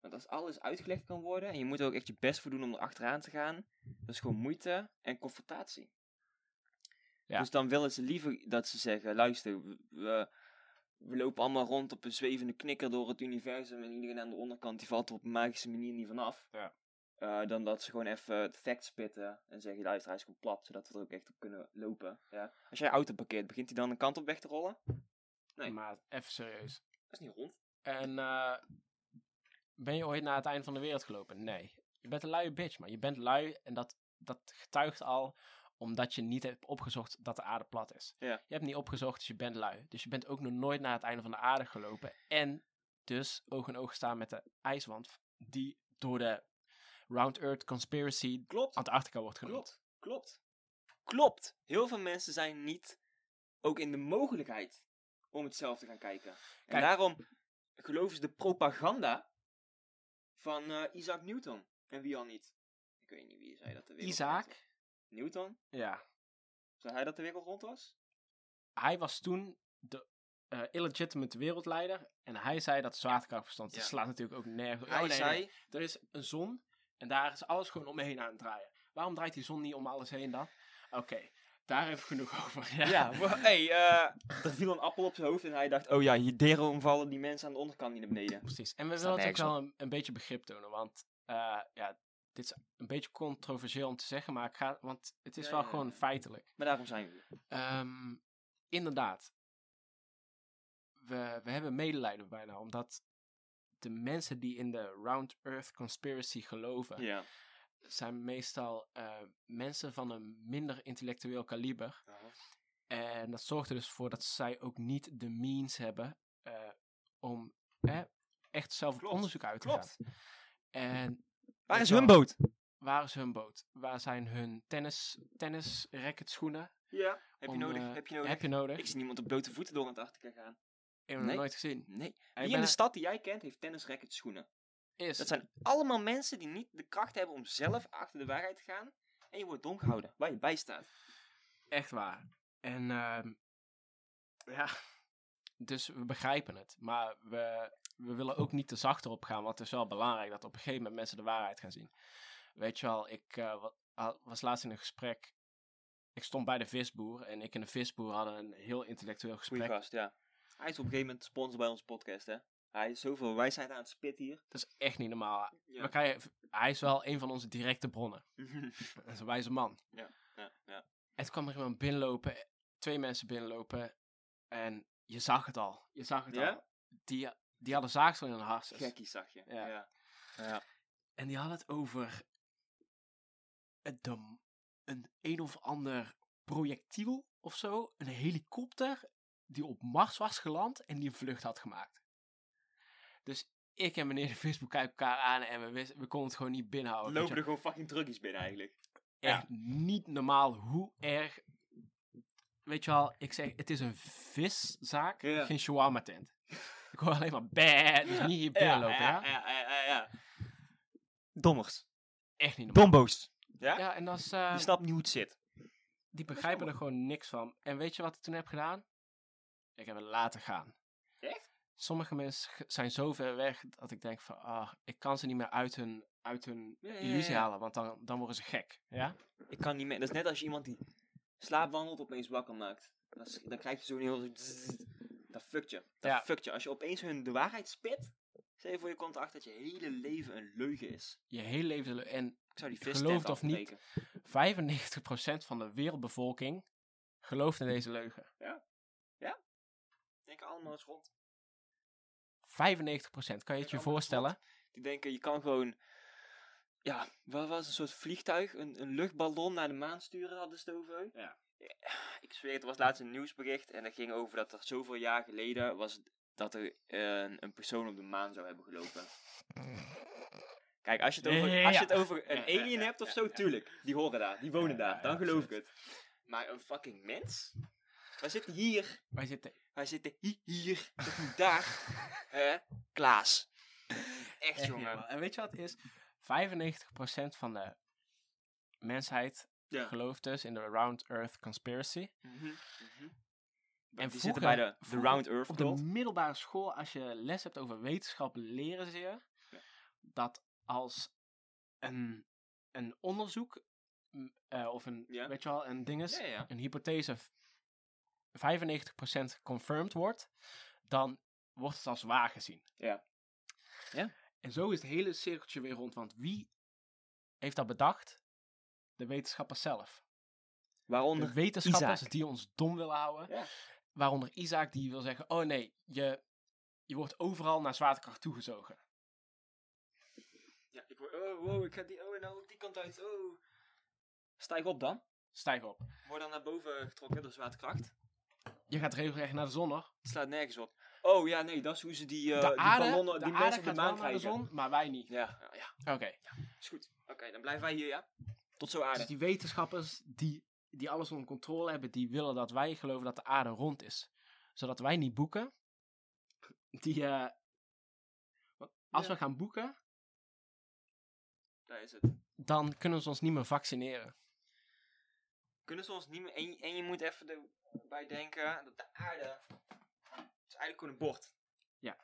Speaker 1: Want als alles uitgelegd kan worden... En je moet er ook echt je best voor doen om er achteraan te gaan... Dat is gewoon moeite en confrontatie.
Speaker 2: Ja.
Speaker 1: Dus dan willen ze liever dat ze zeggen... Luister, we- we, we lopen allemaal rond op een zwevende knikker door het universum... En iedereen aan de onderkant die valt er op een magische manier niet vanaf.
Speaker 2: Ja.
Speaker 1: Eh, dan dat ze gewoon even het fact spitten en zeggen, luister, hij is gewoon plat, zodat we er ook echt op kunnen lopen. Ja. Als jij auto parkeert, begint hij dan een kant op weg te rollen? Nee.
Speaker 2: Maar even serieus.
Speaker 1: Dat is niet rond.
Speaker 2: En eh, ben je ooit naar het einde van de wereld gelopen? Nee. Je bent een luie bitch, maar je bent lui en dat, dat getuigt al omdat je niet hebt opgezocht dat de aarde plat is.
Speaker 1: Ja.
Speaker 2: Je hebt niet opgezocht, dus je bent lui. Dus je bent ook nog nooit naar het einde van de aarde gelopen. En dus oog in oog staan met de ijswand die door de Round Earth Conspiracy
Speaker 1: Klopt,
Speaker 2: Antarctica wordt genoemd.
Speaker 1: klopt, klopt. Klopt. Heel veel mensen zijn niet ook in de mogelijkheid om het zelf te gaan kijken. En
Speaker 2: Kijk.
Speaker 1: daarom geloven ze de propaganda van eh, Isaac Newton. En wie al niet? Ik weet niet wie zei dat de wereld rond
Speaker 2: Isaac,
Speaker 1: was. Newton?
Speaker 2: ja,
Speaker 1: Zei hij dat de wereld rond was?
Speaker 2: hij was toen de eh, illegitimate wereldleider. En hij zei dat de zwaartekracht bestond. Dat
Speaker 1: Ja.
Speaker 2: slaat natuurlijk ook nergens op.
Speaker 1: hij
Speaker 2: Oh, nee,
Speaker 1: zei...
Speaker 2: nee. Er is een zon en daar is alles gewoon omheen aan het draaien. Waarom draait die zon niet om alles heen dan? Oké, daar even genoeg over. Ja,
Speaker 1: Ja, wa- hey, eh, er viel een appel op zijn hoofd en hij dacht, oh ja, hier daarom vallen die mensen aan de onderkant niet naar beneden.
Speaker 2: precies. En
Speaker 1: Staat
Speaker 2: we willen het ook
Speaker 1: nergens
Speaker 2: wel een, een beetje begrip tonen, want eh, ja, dit is een beetje controversieel om te zeggen, maar ik ga, want het is
Speaker 1: Ja,
Speaker 2: wel
Speaker 1: ja,
Speaker 2: gewoon
Speaker 1: ja.
Speaker 2: feitelijk.
Speaker 1: Maar daarom zijn we hier.
Speaker 2: Ehm, inderdaad. We, we hebben medelijden bijna, omdat de mensen die in de Round Earth Conspiracy geloven,
Speaker 1: Ja.
Speaker 2: zijn meestal eh, mensen van een minder intellectueel kaliber. En dat zorgt er dus voor dat zij ook niet de means hebben eh, om eh, echt zelf op
Speaker 1: Klopt,
Speaker 2: onderzoek uit te
Speaker 1: klopt.
Speaker 2: gaan. En
Speaker 1: Waar is
Speaker 2: wel.
Speaker 1: hun boot?
Speaker 2: waar is hun boot? Waar zijn hun tennis, tennis schoenen?
Speaker 1: Ja. Heb je
Speaker 2: om,
Speaker 1: nodig?
Speaker 2: eh,
Speaker 1: heb je nodig?
Speaker 2: Heb je nodig?
Speaker 1: Ik zie niemand op blote voeten door Antarctica gaan.
Speaker 2: Ik heb hem nog
Speaker 1: Nee.
Speaker 2: nooit gezien.
Speaker 1: Nee.
Speaker 2: ik
Speaker 1: Wie
Speaker 2: ben-
Speaker 1: in de stad die jij kent heeft tennisracket schoenen.
Speaker 2: Is,
Speaker 1: Dat zijn allemaal mensen die niet de kracht hebben om zelf achter de waarheid te gaan. En je wordt dom gehouden, waar je bij staat.
Speaker 2: Echt waar. En ehm, ja, dus we begrijpen het. Maar we, we willen ook niet te zacht erop gaan, want het is wel belangrijk dat op een gegeven moment mensen de waarheid gaan zien. Weet je wel, ik eh, wa- ha- was laatst in een gesprek. Ik stond bij de visboer en ik en de visboer hadden een heel intellectueel
Speaker 1: Goeie
Speaker 2: gesprek.
Speaker 1: gast, ja. Hij is op een gegeven moment sponsor bij onze podcast, hè. Hij is zoveel wijsheid aan het spit hier.
Speaker 2: Dat is echt niet normaal. We
Speaker 1: Ja.
Speaker 2: krijgen, hij is wel een van onze directe bronnen. Dat is een wijze man.
Speaker 1: ja, ja.
Speaker 2: En toen kwam er iemand binnenlopen, twee mensen binnenlopen. En je zag het al. Je zag het
Speaker 1: Ja?
Speaker 2: al. Die, die hadden zaagsel in hun hartjes.
Speaker 1: Gekkie zag je.
Speaker 2: Ja.
Speaker 1: Ja. ja.
Speaker 2: En die hadden het over het dom- een een of ander projectiel of zo. Een helikopter die op Mars was geland en die een vlucht had gemaakt. Dus ik en meneer de Facebook kijken elkaar aan en we, wisten, we konden het gewoon niet binnenhouden. Weet je
Speaker 1: Lopen er gewoon fucking truckies binnen eigenlijk.
Speaker 2: echt niet normaal hoe erg. Weet je wel, ik zeg, het is een viszaak,
Speaker 1: Ja.
Speaker 2: geen shawarma tent. Ik hoor alleen maar bad, dus niet hier binnenlopen, ja,
Speaker 1: ja, ja, ja, ja. Dommers.
Speaker 2: Echt niet normaal.
Speaker 1: Dombo's. Ja?
Speaker 2: Ja, en dat is, eh,
Speaker 1: Je snapt niet hoe het zit.
Speaker 2: die begrijpen er gewoon niks van. En weet je wat ik toen heb gedaan? Ik heb het laten gaan.
Speaker 1: Echt?
Speaker 2: Sommige mensen g- zijn zo ver weg dat ik denk van, ah, ik kan ze niet meer uit hun, uit hun
Speaker 1: Ja, ja,
Speaker 2: illusie
Speaker 1: ja.
Speaker 2: halen, want dan, dan worden ze gek. Ja?
Speaker 1: Ik kan niet meer. Dat is net als je iemand die slaapwandelt opeens wakker maakt. Dan, s- dan krijg je zo'n heel... Dat fuckt je. Dat
Speaker 2: Ja.
Speaker 1: fuckt je. Als je opeens hun de waarheid spit, stel je voor je komt erachter dat je hele leven een leugen is.
Speaker 2: Je hele leven zullen... En
Speaker 1: Ik zou die
Speaker 2: Geloof
Speaker 1: vis
Speaker 2: het of niet. 95% van de wereldbevolking gelooft in deze leugen.
Speaker 1: Denk allemaal eens rond.
Speaker 2: 95%, kan je het je voorstellen?
Speaker 1: Die denken, je kan gewoon ja, wat was het, een soort vliegtuig, een, een luchtballon naar de maan sturen hadden ze het over. Eh,
Speaker 2: Ja.
Speaker 1: Ik zweer, het er was laatst een nieuwsbericht en dat ging over dat er zoveel jaar geleden was het- dat er eh, een, een persoon op de maan zou hebben gelopen. Kijk, als je het over, als je het over een
Speaker 2: Ja, ja,
Speaker 1: alien
Speaker 2: ja,
Speaker 1: hebt of
Speaker 2: ja,
Speaker 1: zo,
Speaker 2: ja.
Speaker 1: tuurlijk. Die horen daar, die wonen
Speaker 2: Ja,
Speaker 1: daar,
Speaker 2: ja,
Speaker 1: dan
Speaker 2: ja,
Speaker 1: geloof ik het. Maar een fucking mens? Wij zitten hier,
Speaker 2: Wij zitten...
Speaker 1: wij zitten hi- hier, toch niet daar. Hè? Klaas. Echt, jongen.
Speaker 2: En weet je wat het is? 95% van de mensheid
Speaker 1: Ja.
Speaker 2: gelooft dus in de Round Earth Conspiracy.
Speaker 1: Mhm, mhm.
Speaker 2: En
Speaker 1: die zitten bij
Speaker 2: vroeger-
Speaker 1: de, de
Speaker 2: vroeger
Speaker 1: Round Earth
Speaker 2: Op de
Speaker 1: Cult.
Speaker 2: middelbare school, als je les hebt over wetenschap, leren ze je
Speaker 1: Ja.
Speaker 2: dat als een, een onderzoek m, eh, of een,
Speaker 1: Ja.
Speaker 2: weet je wel, een ding is,
Speaker 1: Ja, ja.
Speaker 2: een hypothese v- 95% confirmed wordt, dan wordt het als waar gezien.
Speaker 1: Ja. Ja.
Speaker 2: En zo is het hele cirkeltje weer rond, want wie heeft dat bedacht? De wetenschappers zelf.
Speaker 1: Waaronder
Speaker 2: De wetenschappers
Speaker 1: Isaac.
Speaker 2: die ons dom willen houden.
Speaker 1: Ja.
Speaker 2: Waaronder Isaac die wil zeggen, oh nee, je, je wordt overal naar zwaartekracht toegezogen.
Speaker 1: Ja, ik word, oh, wow, ik ga die, oh, en dan ook die kant uit, oh. Stijg op dan.
Speaker 2: Stijg op.
Speaker 1: Word dan naar boven getrokken door zwaartekracht.
Speaker 2: Je gaat regelrecht naar de zon hoor.
Speaker 1: Het slaat nergens op. Oh ja, nee, dat is hoe ze die, eh,
Speaker 2: de
Speaker 1: die
Speaker 2: aarde,
Speaker 1: ballonnen,
Speaker 2: de
Speaker 1: die
Speaker 2: aarde
Speaker 1: mensen op de
Speaker 2: gaat
Speaker 1: maan
Speaker 2: wel naar de
Speaker 1: krijgen.
Speaker 2: zon, maar wij niet.
Speaker 1: Ja, ja, ja,
Speaker 2: Oké,
Speaker 1: is goed. Oké, dan blijven wij hier, ja. Tot zo aarde.
Speaker 2: dus die wetenschappers die, die alles onder controle hebben, die willen dat wij geloven dat de aarde rond is. Zodat wij niet boeken. Die, eh, want als
Speaker 1: Ja.
Speaker 2: we gaan boeken,
Speaker 1: Daar is het.
Speaker 2: dan kunnen ze ons niet meer vaccineren.
Speaker 1: Kunnen ze ons niet meer... En, je- en je moet even erbij denken dat de aarde... Het is eigenlijk gewoon een bord.
Speaker 2: Ja.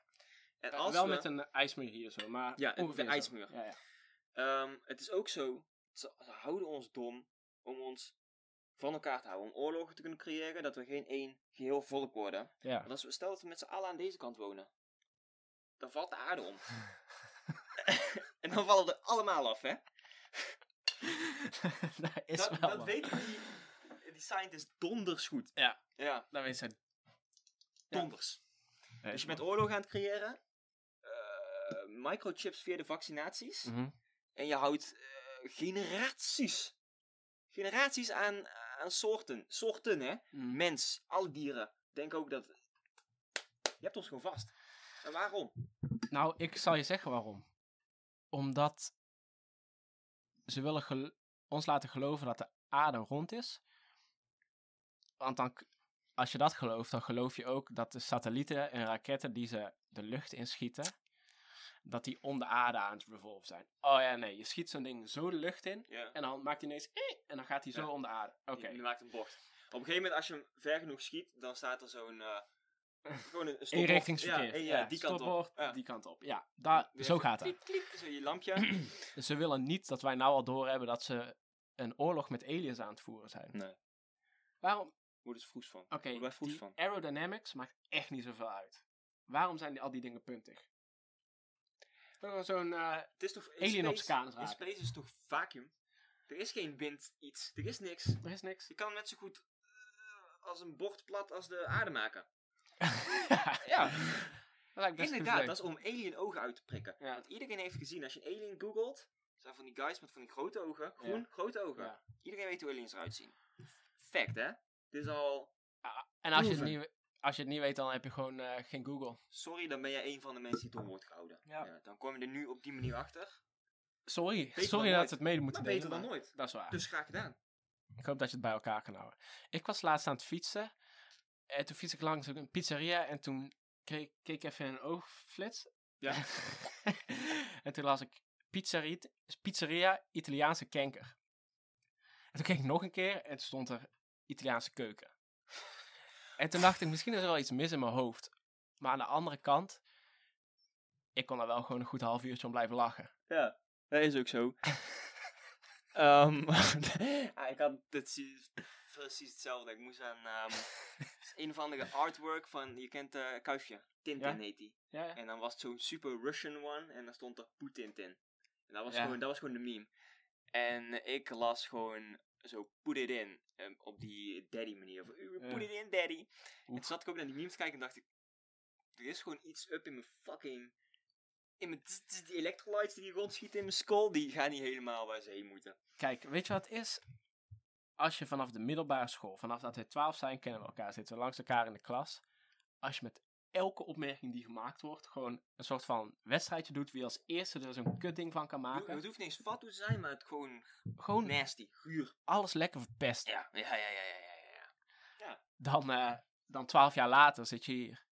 Speaker 1: En als
Speaker 2: wel
Speaker 1: we-
Speaker 2: met een ijsmuur hier zo, maar
Speaker 1: Ja, een-
Speaker 2: ongeveer
Speaker 1: een
Speaker 2: zo.
Speaker 1: ijsmuur.
Speaker 2: Ja, ja.
Speaker 1: Ehm, het is ook zo, ze, ze houden ons dom om ons van elkaar te houden. Om oorlogen te kunnen creëren, dat we geen één geheel volk worden.
Speaker 2: ja.
Speaker 1: Want als we, stel dat we met z'n allen aan deze kant wonen. Dan valt de aarde om. en dan vallen we er allemaal af, hè?
Speaker 2: dat is
Speaker 1: dat
Speaker 2: wel
Speaker 1: dat
Speaker 2: wat.
Speaker 1: weten die, die scientist donders goed.
Speaker 2: Ja.
Speaker 1: Ja,
Speaker 2: Dat weet ze. Ja.
Speaker 1: donders. Dus je bent oorlogen aan het creëren. eh, microchips via de
Speaker 2: Dus
Speaker 1: vaccinaties.
Speaker 2: Mhm.
Speaker 1: En je houdt eh, generaties. Generaties aan, aan soorten. Soorten, hè?
Speaker 2: Mm-hmm.
Speaker 1: Mens, alle dieren. Denk ook dat. Je hebt ons gewoon vast. En waarom?
Speaker 2: Nou, ik zal je zeggen waarom. Omdat ze willen gel- ons laten geloven dat de aarde rond is. Want dan, k- als je dat gelooft, dan geloof je ook dat de satellieten en raketten die ze de lucht inschieten, dat die om de aarde aan het revolven zijn. Oh ja, nee, je schiet zo'n ding zo de lucht in
Speaker 1: Ja.
Speaker 2: en dan maakt hij ineens "Eh", en dan gaat hij zo
Speaker 1: Ja.
Speaker 2: om de aarde. Oké.
Speaker 1: Je, je maakt een bocht. Op een gegeven moment, als je hem ver genoeg schiet, dan staat er zo'n. eh, gewoon een, een stopbord.
Speaker 2: Inrichtingsverkeer.
Speaker 1: Ja, en ja, die kant op.
Speaker 2: stopbord,
Speaker 1: Ja.
Speaker 2: die kant op. Ja, daar,
Speaker 1: Weer
Speaker 2: zo
Speaker 1: even
Speaker 2: gaat het.
Speaker 1: klik, klik, zo je lampje.
Speaker 2: Dus Ze willen niet dat wij nou al doorhebben dat ze een oorlog met aliens aan het voeren zijn.
Speaker 1: Nee.
Speaker 2: Waarom?
Speaker 1: Wordt dus vroes van.
Speaker 2: Oké,
Speaker 1: Worden wij vroes
Speaker 2: die
Speaker 1: van?
Speaker 2: aerodynamics maakt echt niet zoveel uit. Waarom zijn die, al die dingen puntig? Gewoon Zo'n, eh,
Speaker 1: Het is toch. in
Speaker 2: Alien op
Speaker 1: space-
Speaker 2: scanners
Speaker 1: In
Speaker 2: raken.
Speaker 1: space is het toch vacuüm? Er is geen wind, iets. Er is niks.
Speaker 2: er is niks.
Speaker 1: Je kan hem net zo goed eh, als een bord plat als de aarde maken.
Speaker 2: ja, dat lijkt best
Speaker 1: Inderdaad,
Speaker 2: goed
Speaker 1: dat is om alien ogen uit te prikken.
Speaker 2: Ja.
Speaker 1: Want iedereen heeft gezien, als je een alien googelt, zijn van die guys met van die grote ogen. Groen,
Speaker 2: Ja.
Speaker 1: grote ogen.
Speaker 2: Ja.
Speaker 1: Iedereen weet hoe aliens eruit zien. Fact, hè? Dit is al...
Speaker 2: En als je, het
Speaker 1: proeven.
Speaker 2: niet, we- als je het niet weet, dan heb je gewoon eh, geen Google.
Speaker 1: Sorry, dan ben jij een van de mensen die dom wordt gehouden.
Speaker 2: Ja.
Speaker 1: dan kom je er nu op die manier achter.
Speaker 2: Sorry,
Speaker 1: dan
Speaker 2: sorry dat
Speaker 1: nooit.
Speaker 2: we het mede
Speaker 1: Maar
Speaker 2: moeten
Speaker 1: beter
Speaker 2: delen,
Speaker 1: dan
Speaker 2: maar
Speaker 1: nooit.
Speaker 2: Dat is waar.
Speaker 1: Dus graag gedaan.
Speaker 2: Ik hoop dat je het bij elkaar kan houden. Ik was laatst aan het fietsen. En toen fiets ik langs een pizzeria. En toen kreeg, keek ik even in een oogflits.
Speaker 1: Ja.
Speaker 2: en toen las ik pizzeria, pizzeria Italiaanse kanker. En toen keek ik nog een keer. En toen stond er Italiaanse keuken. En toen dacht ik, misschien is er wel iets mis in mijn hoofd. Maar aan de andere kant... Ik kon daar wel gewoon een goed half uurtje om blijven lachen.
Speaker 1: Dat is ook zo. Ehm, ja, ik had dit zie- precies hetzelfde. Ik moest aan ehm, een of andere artwork van, je kent eh Kuifje, Tintin
Speaker 2: Ja?
Speaker 1: heet die.
Speaker 2: Ja, ja.
Speaker 1: En dan was het zo'n super Russian one en dan stond er Poetin in. En dat was,
Speaker 2: Ja.
Speaker 1: gewoon, dat was gewoon de meme. En ik las gewoon zo put it in ehm, op die daddy manier. Van, "Uh, put
Speaker 2: Ja.
Speaker 1: it in daddy. En
Speaker 2: Oef.
Speaker 1: toen zat ik ook naar die memes te kijken en dacht ik, er is gewoon iets up in mijn fucking in mijn tss, tss, die electrolytes die rondschieten in mijn school, die gaan niet helemaal waar ze heen moeten.
Speaker 2: Kijk, weet je wat het is? Als je vanaf de middelbare school, vanaf dat we 12 zijn, kennen we elkaar, zitten we langs elkaar in de klas. Als je met elke opmerking die gemaakt wordt, gewoon een soort van wedstrijdje doet wie als eerste er zo'n kutting van kan
Speaker 1: Het ho-
Speaker 2: maken.
Speaker 1: het hoeft niet eens fat te zijn, maar het gewoon
Speaker 2: Gewoon
Speaker 1: nasty, guur.
Speaker 2: alles lekker verpesten.
Speaker 1: Ja, ja, ja, ja, ja, ja. ja.
Speaker 2: Dan, eh dan 12 jaar later zit je hier.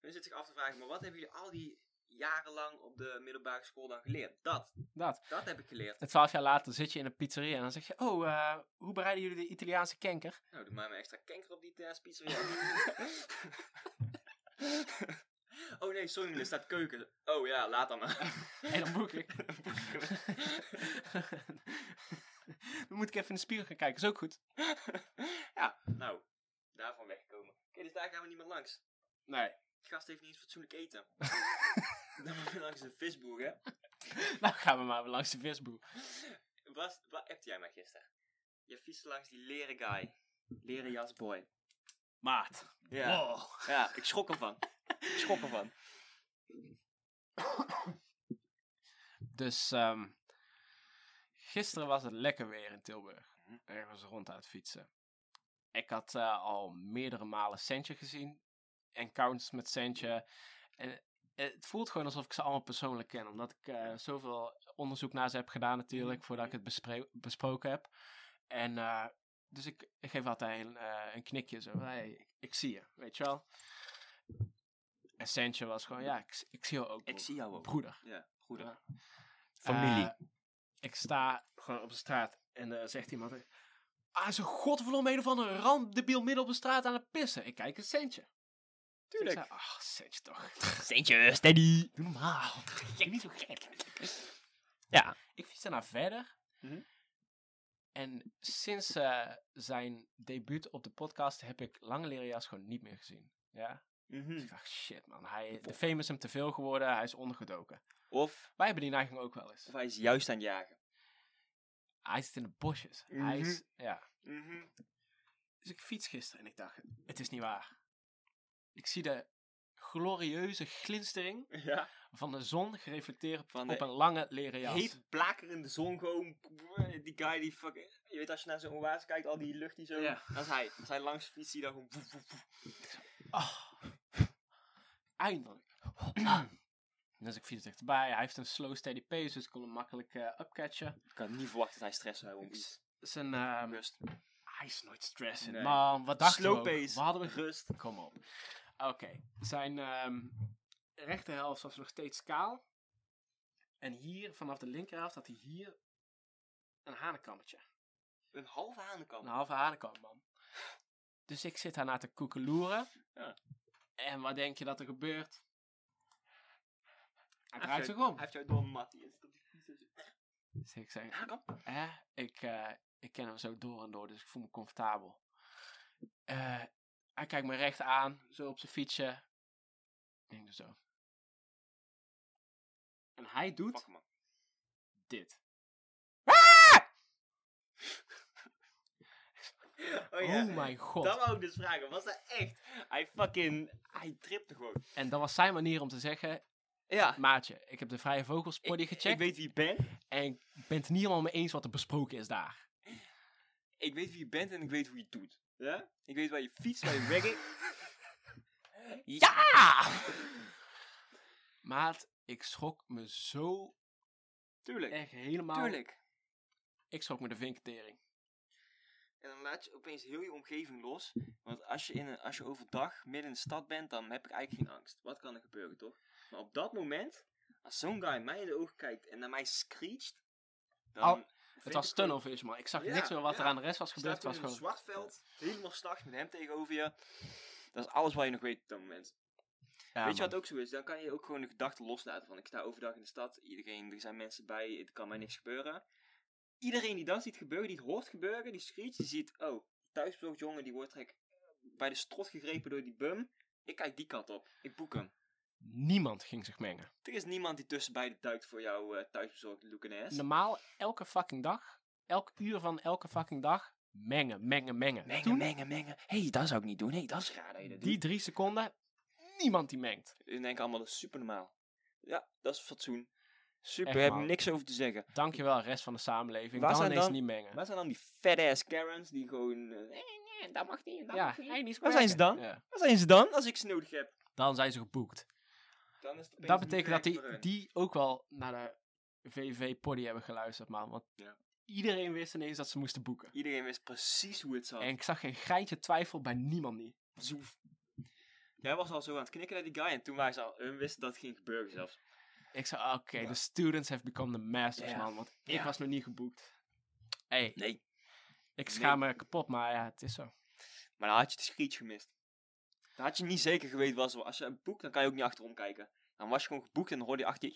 Speaker 1: Dan zit zich af te vragen, maar wat hebben jullie al die jaren lang op de middelbare school dan geleerd? Dat,
Speaker 2: Dat.
Speaker 1: dat heb ik geleerd.
Speaker 2: En 12 jaar later zit je in een pizzeria en dan zeg je: Oh, eh, hoe bereiden jullie de Italiaanse kenker?
Speaker 1: Nou, doe maar maar extra kanker op die uh, oh nee, sorry, er staat keuken. Oh ja, laat dan maar.
Speaker 2: En dan boek ik.
Speaker 1: Dan boeken
Speaker 2: dan moet ik even in de spiegel gaan kijken, is ook goed.
Speaker 1: ja, nou, daarvan wegkomen. Oké, dus daar gaan we niet meer langs.
Speaker 2: Nee.
Speaker 1: Die gast heeft niet eens fatsoenlijk eten. dan moet je langs de visboer, hè?
Speaker 2: Nou gaan we maar weer langs de visboer.
Speaker 1: Wat, wat appte jij mij gisteren? Je fietste langs die leren guy. Leren jas boy.
Speaker 2: Maat.
Speaker 1: Ja.
Speaker 2: Wow.
Speaker 1: ja, ik schrok ervan. ik schrok ervan.
Speaker 2: Dus ehm, gisteren was het lekker weer in Tilburg. Ergens rond aan het fietsen. Ik had eh, al meerdere malen Sentje gezien. Encounters met Sentje. En eh, het voelt gewoon alsof ik ze allemaal persoonlijk ken. Omdat ik eh, zoveel onderzoek naar ze heb gedaan
Speaker 1: Mhm.
Speaker 2: natuurlijk. Voordat ik het bespre- besproken heb. En eh, dus ik, ik geef altijd een, eh, een knikje zo. Hey, ik, ik zie je, weet je wel. En Sentje was gewoon, ja, ik, ik zie jou ook.
Speaker 1: Ik
Speaker 2: bro-
Speaker 1: zie jou ook.
Speaker 2: Broeder.
Speaker 1: Ja, goed.
Speaker 2: Ja.
Speaker 1: Familie.
Speaker 2: Eh, ik sta gewoon op de straat en eh, zegt iemand... Ah, is een godverdomme een van een rampdebiel midden op de straat aan het pissen. Ik kijk een centje. Dus ik zei, Ach, centje toch.
Speaker 1: Centje, steady.
Speaker 2: Doe normaal. Kijk niet zo gek. Ja. Ik fiets daarna verder.
Speaker 1: Mhm.
Speaker 2: En sinds eh, zijn debuut op de podcast heb ik Lange Leria's gewoon niet meer gezien. Ja?
Speaker 1: Mhm.
Speaker 2: Dus ik dacht, shit man, hij, de fame is hem te veel geworden, hij is ondergedoken.
Speaker 1: Of,
Speaker 2: Wij hebben die neiging ook wel eens.
Speaker 1: of hij is juist aan het jagen.
Speaker 2: Hij zit in de bosjes. Hij
Speaker 1: Mhm.
Speaker 2: is, ja. Dus ik fiets gisteren en ik dacht, het is niet waar. Ik zie de glorieuze glinstering
Speaker 1: Ja.
Speaker 2: van de zon gereflecteerd
Speaker 1: Van
Speaker 2: op
Speaker 1: de
Speaker 2: een lange leren jas.
Speaker 1: Heet blakerende zon gewoon. Die guy die fucking. Je weet als je naar zo'n oase kijkt, al die lucht die zo.
Speaker 2: Ja.
Speaker 1: Dat is hij. Als hij langs fietst, zie je dan gewoon. woef, woef, woef.
Speaker 2: Ah. Eindelijk.
Speaker 1: Ah.
Speaker 2: dus ik fiets dichterbij. Hij heeft een slow steady pace, dus ik kon hem makkelijk eh, upcatchen.
Speaker 1: Ik kan niet verwachten dat hij stress zou hebben. om iets.
Speaker 2: Zijn, ehm,
Speaker 1: Rust.
Speaker 2: hij is nooit stressend.
Speaker 1: Nee.
Speaker 2: Man, wat dachten we
Speaker 1: Slow
Speaker 2: ook?
Speaker 1: pace.
Speaker 2: We hadden we
Speaker 1: Rust.
Speaker 2: Kom op. Oké, zijn ehm rechterhelft was nog steeds kaal. En hier, vanaf de linkerhelft, had hij hier een hanenkammetje.
Speaker 1: Een halve
Speaker 2: Een
Speaker 1: hanenkam.
Speaker 2: halve hanenkam, man. Dus ik zit daarna te koekeloeren.
Speaker 1: Ja.
Speaker 2: En wat denk je dat er gebeurt? Hij
Speaker 1: Hij
Speaker 2: draait
Speaker 1: heeft
Speaker 2: zich
Speaker 1: jou-
Speaker 2: om.
Speaker 1: Hij heeft jou door Mattie. Hij zit op die fiets en zo.
Speaker 2: Dus ik zeg,
Speaker 1: Hanenkam?
Speaker 2: hè, ik, eh, ik ken hem zo door en door, dus ik voel me comfortabel. Eh, hij kijkt me recht aan, zo op zijn fietsje. Ik denk dus zo. En hij doet
Speaker 1: Fuck man.
Speaker 2: dit.
Speaker 1: Oh,
Speaker 2: Oh,
Speaker 1: ja.
Speaker 2: mijn god.
Speaker 1: Dat wou ik dus vragen. Was dat echt? Hij fucking. Hij tripte gewoon.
Speaker 2: En dat was zijn manier om te zeggen,
Speaker 1: Ja.
Speaker 2: maatje, ik heb de Vrije Vogels body gecheckt
Speaker 1: Ah. Ik weet wie je bent.
Speaker 2: en ik ben het niet helemaal mee eens wat er besproken is daar.
Speaker 1: ik weet wie je bent en ik weet hoe je het doet. Ja? Ik weet waar je fietst, waar je werkt. ja!
Speaker 2: Maat, ik schrok me zo
Speaker 1: Tuurlijk,
Speaker 2: echt helemaal.
Speaker 1: tuurlijk.
Speaker 2: Ik schrok me de vinketering.
Speaker 1: En dan laat je opeens heel je omgeving los. Want als je, in een, als je overdag midden in de stad bent, dan heb ik eigenlijk geen angst. Wat kan er gebeuren, toch? Maar op dat moment, als zo'n guy mij in de ogen kijkt en naar mij screecht... Dan
Speaker 2: Al-
Speaker 1: vind
Speaker 2: Het
Speaker 1: ik
Speaker 2: was
Speaker 1: gewoon-
Speaker 2: tunnel vision, man. Ik zag
Speaker 1: Ja,
Speaker 2: niks meer wat
Speaker 1: ja.
Speaker 2: er aan de rest was gebeurd.
Speaker 1: Staat
Speaker 2: Het
Speaker 1: toen
Speaker 2: was
Speaker 1: in een
Speaker 2: gewoon...
Speaker 1: zwart veld, helemaal s'nachts met hem tegenover je. Dat is alles wat je nog weet op dat moment.
Speaker 2: Ja,
Speaker 1: Weet je
Speaker 2: man.
Speaker 1: wat ook zo is? Dan kan je ook gewoon de gedachte loslaten van ik sta overdag in de stad, iedereen, er zijn mensen bij, het kan mij niks gebeuren. Iedereen die dat ziet gebeuren, die het hoort gebeuren, die screecht, die ziet, oh, thuisbezorgd jongen, die wordt gek bij de strot gegrepen door die bum. Ik kijk die kant op, ik boek hem.
Speaker 2: Niemand ging zich mengen.
Speaker 1: Er is niemand die tussen beiden duikt voor jouw eh thuisbezorgde Lucan ass.
Speaker 2: Normaal, elke fucking dag, elk uur van elke fucking dag, mengen, mengen, mengen.
Speaker 1: Mengen,
Speaker 2: Toen,
Speaker 1: mengen, mengen. Hé, hey, dat zou ik niet doen. Hé, hey, dat is raar dat je dat
Speaker 2: die
Speaker 1: doet.
Speaker 2: drie seconden, niemand die mengt.
Speaker 1: Die denken allemaal, dat is super normaal. Ja, dat is fatsoen. Super,
Speaker 2: Echt,
Speaker 1: heb
Speaker 2: man.
Speaker 1: niks over te zeggen.
Speaker 2: Dankjewel, rest van de samenleving.
Speaker 1: Waar
Speaker 2: dan
Speaker 1: zijn
Speaker 2: ineens
Speaker 1: dan-
Speaker 2: niet mengen.
Speaker 1: Waar zijn dan die fat-ass Karens die gewoon... eh, nee, nee, dat mag niet, en dat
Speaker 2: ja,
Speaker 1: mag niet.
Speaker 2: hij niet
Speaker 1: Waar zijn ze dan?
Speaker 2: Ja.
Speaker 1: Waar zijn ze dan als ik ze nodig heb?
Speaker 2: Dan zijn ze geboekt.
Speaker 1: Dan is het opeens
Speaker 2: dat
Speaker 1: niet
Speaker 2: betekent dat
Speaker 1: werk voor
Speaker 2: die,
Speaker 1: hun.
Speaker 2: die ook wel naar de VV-poddy hebben geluisterd, man. Want
Speaker 1: Ja.
Speaker 2: iedereen wist ineens dat ze moesten boeken.
Speaker 1: Iedereen wist precies hoe het zat.
Speaker 2: En ik zag geen geintje twijfel bij niemand niet.
Speaker 1: Zoef. Jij was al zo aan het knikken naar die guy en toen wij ze al, hun wisten dat het ging gebeuren zelfs.
Speaker 2: Ik zei, "Ah, oké, de students have become the masters,
Speaker 1: Ja.
Speaker 2: man. Want ik
Speaker 1: Ja.
Speaker 2: was nog niet geboekt. hey,
Speaker 1: Nee.
Speaker 2: ik schaam me kapot, maar ja, het is zo.
Speaker 1: Maar dan had je het screech gemist. Dan had je niet zeker geweten was. Als je een boek, dan kan je ook niet achterom kijken. Dan was je gewoon geboekt en dan hoorde je achter je.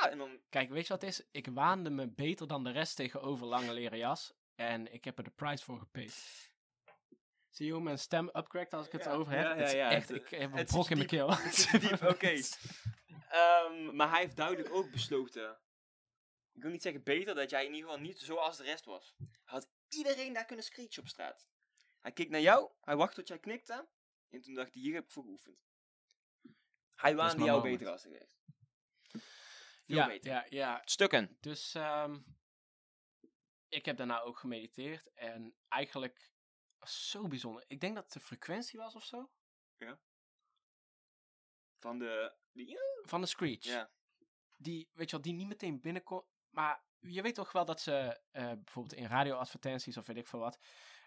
Speaker 1: Ja! En dan.
Speaker 2: Kijk, weet je wat het is? Ik waande me beter dan de rest tegenover lange leren jas. En ik heb er de price voor gepaid. Zie je hoe mijn stem upcrackt als ik het
Speaker 1: Ja,
Speaker 2: erover heb?
Speaker 1: ja, ja,
Speaker 2: Het is
Speaker 1: ja,
Speaker 2: echt,
Speaker 1: het-
Speaker 2: ik heb een
Speaker 1: het
Speaker 2: brok
Speaker 1: zit
Speaker 2: in mijn keel.
Speaker 1: Het zit diep, oké. Ehm, maar hij heeft duidelijk ook besloten. Ik wil niet zeggen beter, dat jij in ieder geval niet zoals de rest was. Had iedereen daar kunnen screechen op straat. Hij keek naar jou, hij wachtte tot jij knikte. En toen dacht hij, hier heb ik voor geoefend. Hij waande
Speaker 2: mijn
Speaker 1: jou
Speaker 2: moment.
Speaker 1: beter als de rest. Veel
Speaker 2: Ja,
Speaker 1: beter.
Speaker 2: ja, ja.
Speaker 1: Stukken.
Speaker 2: Dus ehm, ik heb daarna ook gemediteerd. En eigenlijk zo bijzonder. Ik denk dat het de frequentie was of zo.
Speaker 1: Van de... die-
Speaker 2: Van de screech.
Speaker 1: Ja.
Speaker 2: Die, weet je wel, die niet meteen binnenkomt. Maar je weet toch wel dat ze eh, bijvoorbeeld in radioadvertenties of weet ik veel wat.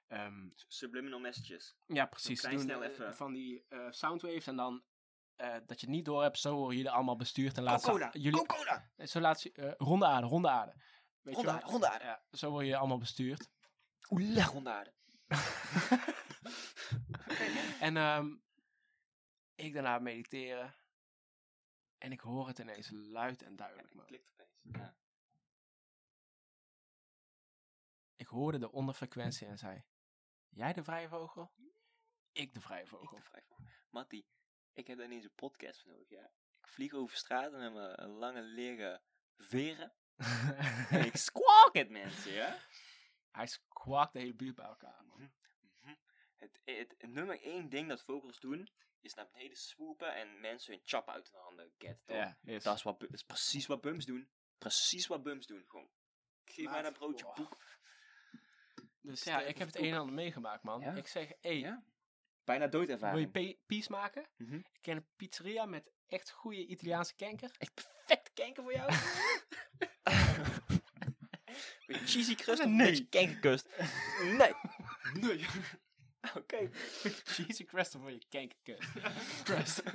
Speaker 2: ehm,
Speaker 1: Subliminal messages.
Speaker 2: Ja, precies.
Speaker 1: klein
Speaker 2: Doen,
Speaker 1: snel
Speaker 2: eh,
Speaker 1: even.
Speaker 2: Van die eh, soundwaves en dan eh, dat je het niet door hebt, zo worden jullie allemaal bestuurd en laat ze,
Speaker 1: Coca-Cola,
Speaker 2: jullie,
Speaker 1: Coca-Cola.
Speaker 2: eh, zo laat ze- eh, ronde aarde, ronde aarde. Weet
Speaker 1: Ronde
Speaker 2: je wel?
Speaker 1: aarde, ronde aarde.
Speaker 2: Ja, zo word je allemaal bestuurd.
Speaker 1: Oela, ronde aarde.
Speaker 2: En ehm, ik daarna mediteren en ik hoor het ineens luid en duidelijk. Man.
Speaker 1: Klikt opeens. Ja.
Speaker 2: Ik hoorde de onderfrequentie en zei, jij de vrije vogel? Ik de vrije
Speaker 1: Ik
Speaker 2: vogel.
Speaker 1: te vrij voor. Mattie, ik heb daar ineens een podcast voor nodig, ja. Ik vlieg over straten met mijn lange leren veren. En ik squawk het mensen, ja.
Speaker 2: Hij squawkt de hele buurt bij elkaar. Man.
Speaker 1: Mhm. Het, het, het nummer één ding dat vogels doen, is naar beneden swoepen en mensen hun chap uit hun handen get. toch?
Speaker 2: Ja, is.
Speaker 1: Dat, is wat, bu- dat is precies wat bums doen. Precies wat bums doen, gewoon. Geef mij
Speaker 2: Maat,
Speaker 1: dat broodje
Speaker 2: wow.
Speaker 1: boek.
Speaker 2: Dus
Speaker 1: Sterk
Speaker 2: ja, ik
Speaker 1: of
Speaker 2: heb het
Speaker 1: koek.
Speaker 2: een en ander meegemaakt, man.
Speaker 1: Ja?
Speaker 2: Ik zeg, hé,
Speaker 1: Ja? Bijna
Speaker 2: wil je
Speaker 1: doodervaring.
Speaker 2: pe- peace maken?
Speaker 1: Mhm.
Speaker 2: Ik ken een pizzeria met echt goede Italiaanse kanker.
Speaker 1: Echt perfect kanker voor jou. Een cheesy crust of
Speaker 2: Nee.
Speaker 1: nee. kankerkust? Nee.
Speaker 2: Nee.
Speaker 1: Oké.
Speaker 2: Cheesy crust voor je kankerkut. crust.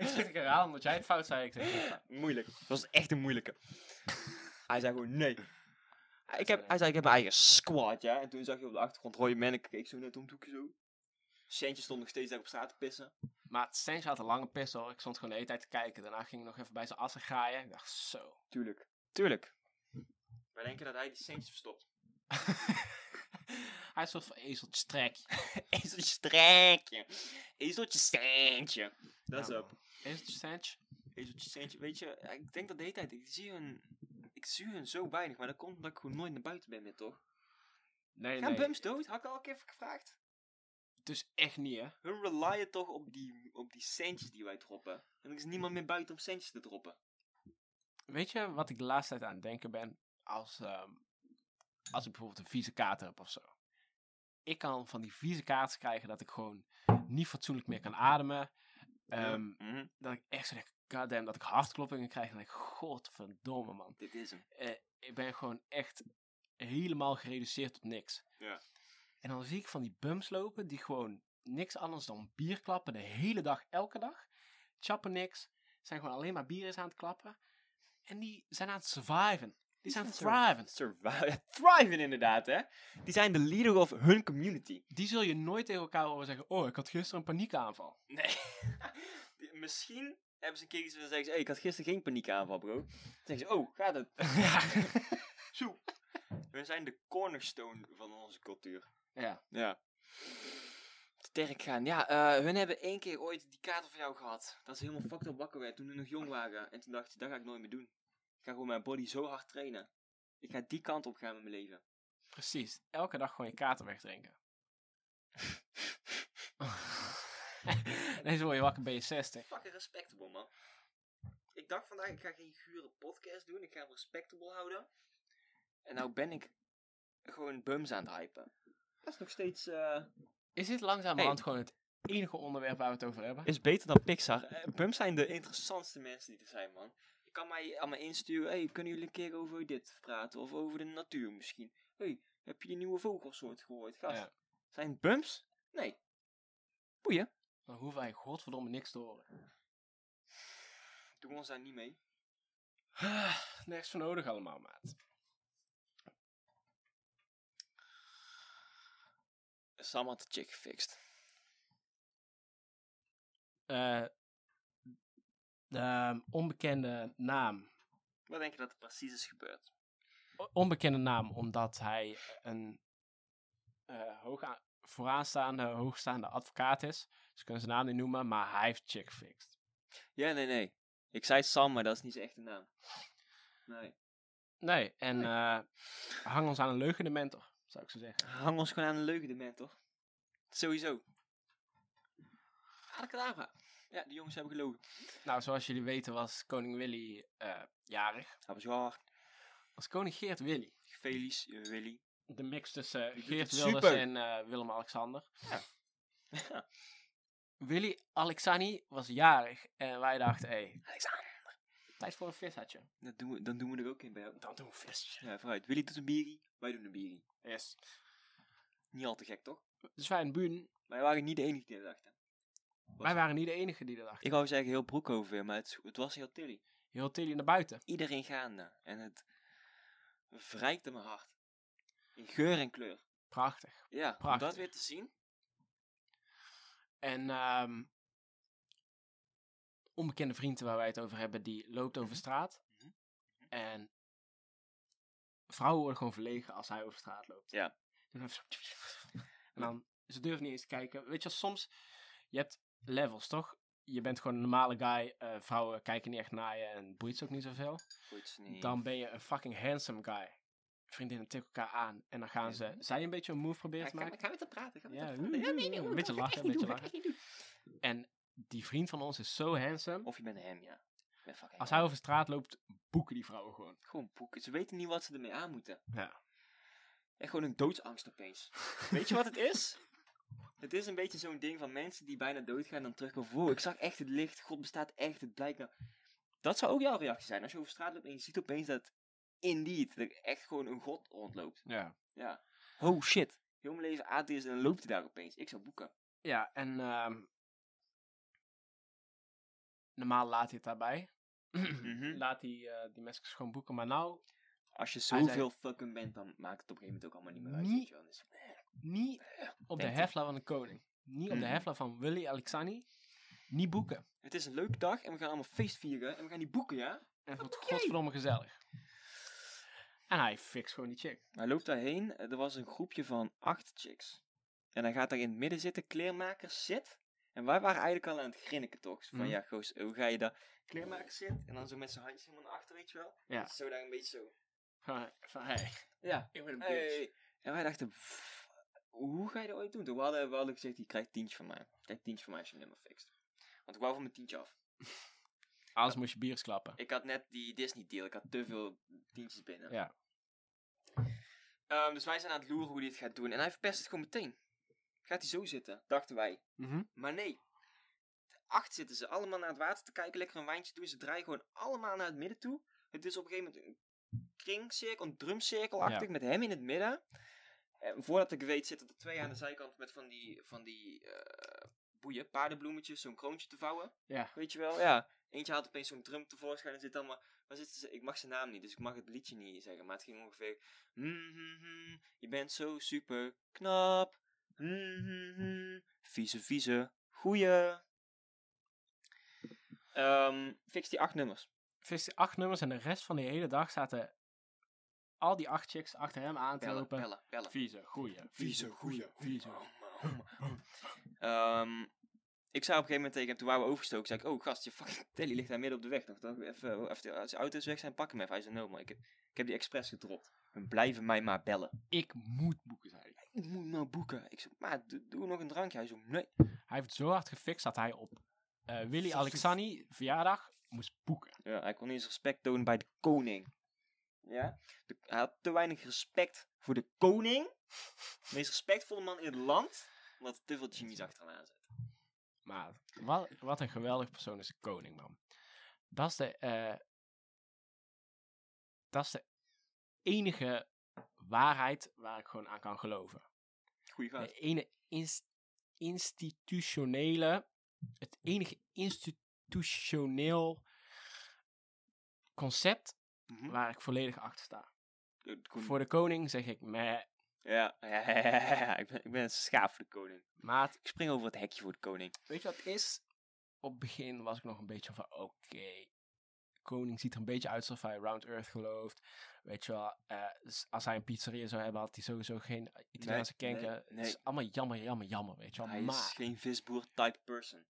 Speaker 2: ik zit ik herhaal omdat jij het fout zei. Ik zeg, ja, fout.
Speaker 1: Moeilijk. Dat was echt een moeilijke. Hij zei gewoon nee. Ik
Speaker 2: zei
Speaker 1: heb,
Speaker 2: nee.
Speaker 1: hij zei, ik heb mijn eigen squad, ja. En toen zag je op de achtergrond rode man. Ik keek zo naar het omdoekje zo. Centje stond nog steeds daar op straat te pissen.
Speaker 2: maar Sensje had een lange pistol. Ik stond gewoon de hele tijd te kijken. Daarna ging ik nog even bij zijn assen graaien. Ik dacht, zo.
Speaker 1: Tuurlijk. Tuurlijk. Wij denken dat hij die centjes verstopt.
Speaker 2: Hij is een soort van ezeltje strek.
Speaker 1: Ezeltje strekje. Ezeltje centje. Dat is
Speaker 2: Ja,
Speaker 1: up.
Speaker 2: man. Ezeltje Sensje?
Speaker 1: Ezeltje centje. Weet je, ik denk dat de hele tijd. Ik zie hun, ik zie hun zo weinig. Maar dat komt omdat ik gewoon nooit naar buiten ben meer, toch?
Speaker 2: Nee,
Speaker 1: Gaan
Speaker 2: nee.
Speaker 1: bums dood? Had ik al een keer gevraagd?
Speaker 2: Dus echt niet, hè.
Speaker 1: Hun relyen toch op die, op die centjes die wij droppen. En er is niemand meer buiten om centjes te droppen.
Speaker 2: Weet je wat ik de laatste tijd aan het denken ben? Als, ehm, als ik bijvoorbeeld een vieze kaart heb of zo. Ik kan van die vieze kaarten krijgen dat ik gewoon niet fatsoenlijk meer kan ademen. Ehm,
Speaker 1: Mhm.
Speaker 2: Dat ik echt zo denk, goddamn, dat ik hartkloppingen krijg. En ik, godverdomme man.
Speaker 1: Dit is hem.
Speaker 2: Eh, ik ben gewoon echt helemaal gereduceerd tot niks.
Speaker 1: Ja.
Speaker 2: En dan zie ik van die bums lopen die gewoon niks anders dan bier klappen. De hele dag, elke dag. Chappen niks. Zijn gewoon alleen maar bier is aan het klappen. En die zijn aan het surviven. Die zijn aan het thriven.
Speaker 1: Survive. Thriven inderdaad, hè? Die zijn de leader of hun community.
Speaker 2: Die zul je nooit tegen elkaar horen zeggen, oh, ik had gisteren een paniekaanval.
Speaker 1: Nee. Die- Misschien hebben ze een keer iets en zeggen ze... Hey, ik had gisteren geen paniekaanval, bro. Dan zeggen ze... Oh, gaat het?
Speaker 2: ja.
Speaker 1: Zo. We zijn de cornerstone van onze cultuur.
Speaker 2: ja.
Speaker 1: Ja. Sterk gaan. Ja, eh, hun hebben één keer ooit die kaart van jou gehad. Dat ze helemaal fucked up wakker werd toen we nog jong waren. En toen dacht ze, dat ga ik nooit meer doen. Ik ga gewoon mijn body zo hard trainen. Ik ga die kant op gaan met mijn leven.
Speaker 2: Precies. Elke dag gewoon je kaarten wegdrinken. Deze word je wakker bij je 60.
Speaker 1: Fucking respectable, man. Ik ik dacht vandaag, ik ga geen gure podcast doen. Ik ga hem respectable houden. En nou ben ik gewoon bums aan het hypen. Dat is nog steeds... eh,
Speaker 2: Is dit langzamerhand gewoon het enige onderwerp waar we het over hebben?
Speaker 1: is beter dan Pixar. Eh, Bums zijn de interessantste mensen die er zijn, man. Je kan mij allemaal insturen. Hey, kunnen jullie een keer over dit praten? Of over de natuur misschien? Hey, heb je een nieuwe vogelsoort gehoord? Gast.
Speaker 2: Ja.
Speaker 1: Zijn het bums? Nee. Boeien.
Speaker 2: Dan hoeven wij godverdomme niks te horen.
Speaker 1: Doen we ons daar niet mee.
Speaker 2: Nergens voor nodig allemaal, maat.
Speaker 1: Sam had de chick gefixt.
Speaker 2: Eh, de ehm, onbekende naam.
Speaker 1: Wat denk je dat er precies is gebeurd?
Speaker 2: O- Onbekende naam, omdat hij een eh hoog aan- vooraanstaande, hoogstaande advocaat is. Ze kunnen zijn naam niet noemen, maar hij heeft chick fixed.
Speaker 1: Ja, nee, nee. Ik zei Sam, maar dat is niet zijn echte naam. Nee.
Speaker 2: Nee, en eh, hang ons aan een leugen de mentor, zou ik zo zeggen.
Speaker 1: Hang ons gewoon aan een leuke dement, toch? Sowieso. Abracadabra. Ja, die jongens hebben gelogen.
Speaker 2: Nou, zoals jullie weten was koning Willy eh, jarig.
Speaker 1: Hebben ze waar.
Speaker 2: Was koning Geert Willy.
Speaker 1: Felice, eh, Willy.
Speaker 2: De mix tussen
Speaker 1: doet
Speaker 2: Geert
Speaker 1: het
Speaker 2: Wilders
Speaker 1: super.
Speaker 2: en eh, Willem-Alexander.
Speaker 1: Ja. Ja.
Speaker 2: Willy Alexani was jarig en wij dachten, hé, hey,
Speaker 1: Alexander.
Speaker 2: tijd voor een vissertje.
Speaker 1: Dat doen we, dan doen we er ook in bij jou.
Speaker 2: Dan doen we vissertje.
Speaker 1: Ja, vooruit. Willy doet een bierie, wij doen een bierie.
Speaker 2: Yes.
Speaker 1: Niet al te gek, toch?
Speaker 2: Dus wij in Buun,
Speaker 1: Wij waren niet de enige die dat dachten.
Speaker 2: wij waren niet de enige die dat dachten.
Speaker 1: Ik wou zeggen heel Broekhoven weer, maar het, het was heel Tilly.
Speaker 2: Heel Tilly naar buiten.
Speaker 1: Iedereen gaande. En het wrijkte mijn hart. In geur en kleur.
Speaker 2: Prachtig.
Speaker 1: Ja, om
Speaker 2: Prachtig.
Speaker 1: dat weer te zien.
Speaker 2: En ehm, onbekende vrienden waar wij het over hebben, die loopt over straat.
Speaker 1: Mhm.
Speaker 2: En vrouwen worden gewoon verlegen als hij over straat loopt.
Speaker 1: Ja.
Speaker 2: Doen even zo. En dan, ze durven niet eens te kijken. Weet je, wel, soms, je hebt levels, toch? Je bent gewoon een normale guy. eh, vrouwen kijken niet echt naar je en boeit ze ook niet zoveel.
Speaker 1: Goed, nee.
Speaker 2: Dan ben je een fucking handsome guy. Vriendinnen tikken elkaar aan en dan gaan ze... Zij een beetje een move proberen
Speaker 1: Ja,
Speaker 2: te
Speaker 1: ga,
Speaker 2: maken.
Speaker 1: ga met haar praten. Ga met
Speaker 2: Ja,
Speaker 1: haar praten. Ja, nee, nee,
Speaker 2: een
Speaker 1: dat
Speaker 2: beetje
Speaker 1: ga ik
Speaker 2: lachen,
Speaker 1: echt
Speaker 2: een
Speaker 1: niet doen,
Speaker 2: beetje
Speaker 1: dat ga ik echt niet doen.
Speaker 2: En die vriend van ons is zo handsome.
Speaker 1: Of je bent hem, ja. Ik ben fucking
Speaker 2: Als hij over straat loopt, boeken die vrouwen gewoon.
Speaker 1: Gewoon boeken. Ze weten niet wat ze ermee aan moeten.
Speaker 2: Ja.
Speaker 1: En gewoon een doodsangst opeens. Weet je wat het is? Het is een beetje zo'n ding van mensen die bijna doodgaan en dan terugkomen. Wow, ik zag echt het licht. God bestaat echt. Het blijkt nou. Dat zou ook jouw reactie zijn. Als je over straat loopt en je ziet opeens dat indeed er echt gewoon een god rondloopt.
Speaker 2: Ja.
Speaker 1: Ja. Oh shit. Heel mijn leven atheïst en dan loopt hij daar opeens. Ik zou boeken.
Speaker 2: Ja, en ehm, normaal laat hij het daarbij.
Speaker 1: Mhm.
Speaker 2: Laat hij eh, die mensen gewoon boeken. Maar nou,
Speaker 1: Als je
Speaker 2: Hij zei-
Speaker 1: zoveel fucking bent, dan maakt het op een gegeven moment ook allemaal niet meer uit.
Speaker 2: Niet-
Speaker 1: weet je wel. Dus-
Speaker 2: niet op de
Speaker 1: Denkt
Speaker 2: hefla van de koning. Niet op de
Speaker 1: Mhm.
Speaker 2: hefla van Willy Alexani. Niet boeken.
Speaker 1: Het is een leuke dag en we gaan allemaal feest vieren en we gaan die boeken, ja?
Speaker 2: En het wordt
Speaker 1: Oké.
Speaker 2: godverdomme gezellig. En hij fixt gewoon die chick.
Speaker 1: Hij loopt daarheen. eh, Er was een groepje van acht chicks. En hij gaat daar in het midden zitten. Kleermakers zit. En wij waren eigenlijk al aan het grinniken toch. Zo Van
Speaker 2: Mhm.
Speaker 1: ja, goos, hoe ga je daar? Kleermakers zit. En dan zo met zijn handjes helemaal naar achter, weet je wel.
Speaker 2: Ja.
Speaker 1: Dat is Zo daar een beetje zo.
Speaker 2: Van, van hey,
Speaker 1: Ja.
Speaker 2: ik ben een bitch.
Speaker 1: Hey. En wij dachten, pff, hoe ga je dat ooit doen? Toen we hadden, we hadden gezegd, je krijgt tientje van mij. Krijg tientje van mij als je hem nummer fixt. Want ik wou van mijn tientje af.
Speaker 2: Anders moest je biers klappen.
Speaker 1: Ik had net die Disney deal. Ik had te veel tientjes binnen.
Speaker 2: Ja.
Speaker 1: Ehm, dus wij zijn aan het loeren hoe hij het gaat doen. En hij verpest het gewoon meteen. Gaat hij zo zitten, dachten wij.
Speaker 2: Mhm.
Speaker 1: Maar nee. De acht zitten ze allemaal naar het water te kijken. Lekker een wijntje doen. Ze draaien gewoon allemaal naar het midden toe. Het is op een gegeven moment een kringcirkel, een drumcirkelachtig. Met hem in het midden. En voordat ik weet zitten er twee aan de zijkant met van die, van die eh, boeien, paardenbloemetjes. Zo'n kroontje te vouwen.
Speaker 2: Ja.
Speaker 1: Weet je wel, ja. Eentje haalt opeens zo'n drum tevoorschijn en zit allemaal... Waar zitten ze? Ik mag zijn naam niet, dus ik mag het liedje niet zeggen. Maar het ging ongeveer... "Mm, mm, mm, je bent zo super knap. Mm, mm, mm, vieze, vieze. Goeie. Ehm, fix die acht nummers.
Speaker 2: vist hij acht nummers en de rest van de hele dag zaten al die acht chicks achter hem aan te
Speaker 1: Bellen,
Speaker 2: lopen.
Speaker 1: bellen, bellen.
Speaker 2: Vieze, goeie.
Speaker 1: Vieze, goeie, Oh,
Speaker 2: vieze.
Speaker 1: Ehm, ik zei op een gegeven moment tegen hem, toen waren we overgestoken, zei ik, oh gast, je fucking telly ligt daar midden op de weg nog. Dan even, even, als de auto's weg zijn, pak hem even. Hij zei, no man, ik heb, ik heb die expres gedropt. En blijven mij maar bellen.
Speaker 2: Ik moet boeken, zei hij.
Speaker 1: Ik moet nou boeken. Ik zei, maar doe, doe nog een drankje. Hij zo, nee.
Speaker 2: Hij heeft zo hard gefixt dat hij op eh, Willy
Speaker 1: Zo-
Speaker 2: Alexani verjaardag moest boeken.
Speaker 1: Ja, hij kon niet eens respect tonen bij de koning. Ja? De- hij had te weinig respect voor de koning. De meest respectvolle man in het land. Omdat er te veel genies achteraan zit.
Speaker 2: Maar wat, wat een geweldig persoon is de koning, man. Dat is de, eh, dat is de enige waarheid waar ik gewoon aan kan geloven.
Speaker 1: Goeie
Speaker 2: De
Speaker 1: gast.
Speaker 2: ene inst- institutionele, het enige institutioneel concept
Speaker 1: Mhm.
Speaker 2: waar ik volledig achter sta.
Speaker 1: De- de koning.
Speaker 2: Voor de koning zeg ik, meh,
Speaker 1: Ja, ja, ja, ja, ja, ja. Ik, ben, ik ben een schaap voor de koning.
Speaker 2: maat,
Speaker 1: Ik spring over het hekje voor de koning.
Speaker 2: Weet je wat het is? Op het begin was ik nog een beetje van, oké, de koning ziet er een beetje uit alsof hij Round Earth gelooft. Weet je wel, eh, s- als hij een pizzeria zou hebben, had hij sowieso geen Italiaanse
Speaker 1: Nee,
Speaker 2: kenken.
Speaker 1: nee,
Speaker 2: Het
Speaker 1: nee.
Speaker 2: is allemaal jammer, jammer, jammer, weet je wel.
Speaker 1: Hij is
Speaker 2: maar
Speaker 1: geen visboer type person.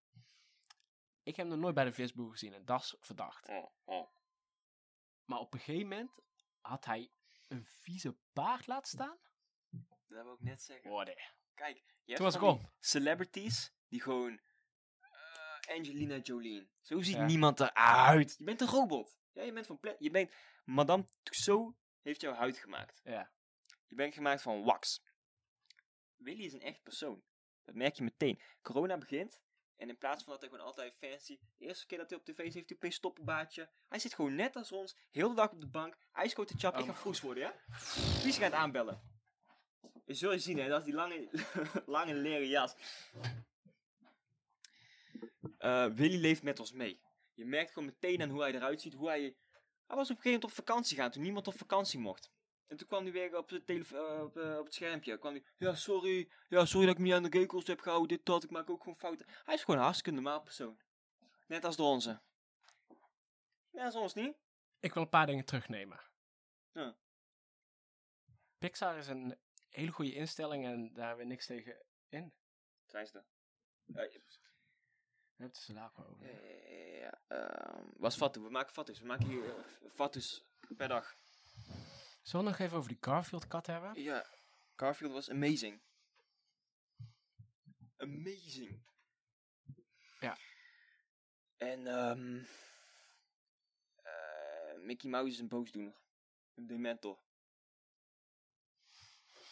Speaker 2: ik heb hem nog nooit bij de visboer gezien en dat is verdacht.
Speaker 1: Oh, oh.
Speaker 2: Maar op een gegeven moment had hij een vieze baard laten staan.
Speaker 1: Dat wil ik net zeggen.
Speaker 2: Worden.
Speaker 1: Kijk, je hebt
Speaker 2: Oh. Toen was ik
Speaker 1: van
Speaker 2: om.
Speaker 1: die celebrities die gewoon... eh, Angelina Jolie. Zo ziet
Speaker 2: Ja.
Speaker 1: niemand eruit. Je bent een robot. Ja, je bent van pla- Je bent... Madame Tussaud heeft jouw huid gemaakt.
Speaker 2: Ja.
Speaker 1: Je bent gemaakt van wax. Willy is een echt persoon. Dat merk je meteen. Corona begint. En in plaats van dat hij gewoon altijd fancy... De eerste keer dat hij op tv is, heeft hij opeens stoppenbaardje. Hij zit gewoon net als ons. Heel de dag op de bank. Hij scoot de chap.
Speaker 2: Oh
Speaker 1: ik ga
Speaker 2: mijn
Speaker 1: vroes worden, ja? Wie is er aan het aanbellen? Je zul je zien, hè. Dat is die lange, lange leren jas. Eh, Willy leeft met ons mee. Je merkt gewoon meteen aan hoe hij eruit ziet. Hoe hij... Hij was op een gegeven moment op vakantie gaan, toen niemand op vakantie mocht. En toen kwam hij weer op, de telefo- eh, op, eh, op het schermpje. Kwam hij, ja, sorry. Ja, sorry dat ik me niet aan de regels heb gehouden. Dit, dat. Ik maak ook gewoon fouten. Hij is gewoon een hartstikke normaal persoon. Net als de onze. Net als ons niet.
Speaker 2: Ik wil een paar dingen terugnemen.
Speaker 1: Ja.
Speaker 2: Pixar is een hele goede instelling en daar hebben we niks tegen in.
Speaker 1: Zijn ze er.
Speaker 2: Daar heb het dus later over.
Speaker 1: Eh, Ja, ehm, was Fatu. We maken Fatu's. We maken hier eh, Fatu's per dag.
Speaker 2: Zullen we nog even over die Garfield-kat hebben?
Speaker 1: Ja, Garfield was amazing. Amazing.
Speaker 2: Ja.
Speaker 1: En ehm eh, Mickey Mouse is een boosdoener. Een dementor.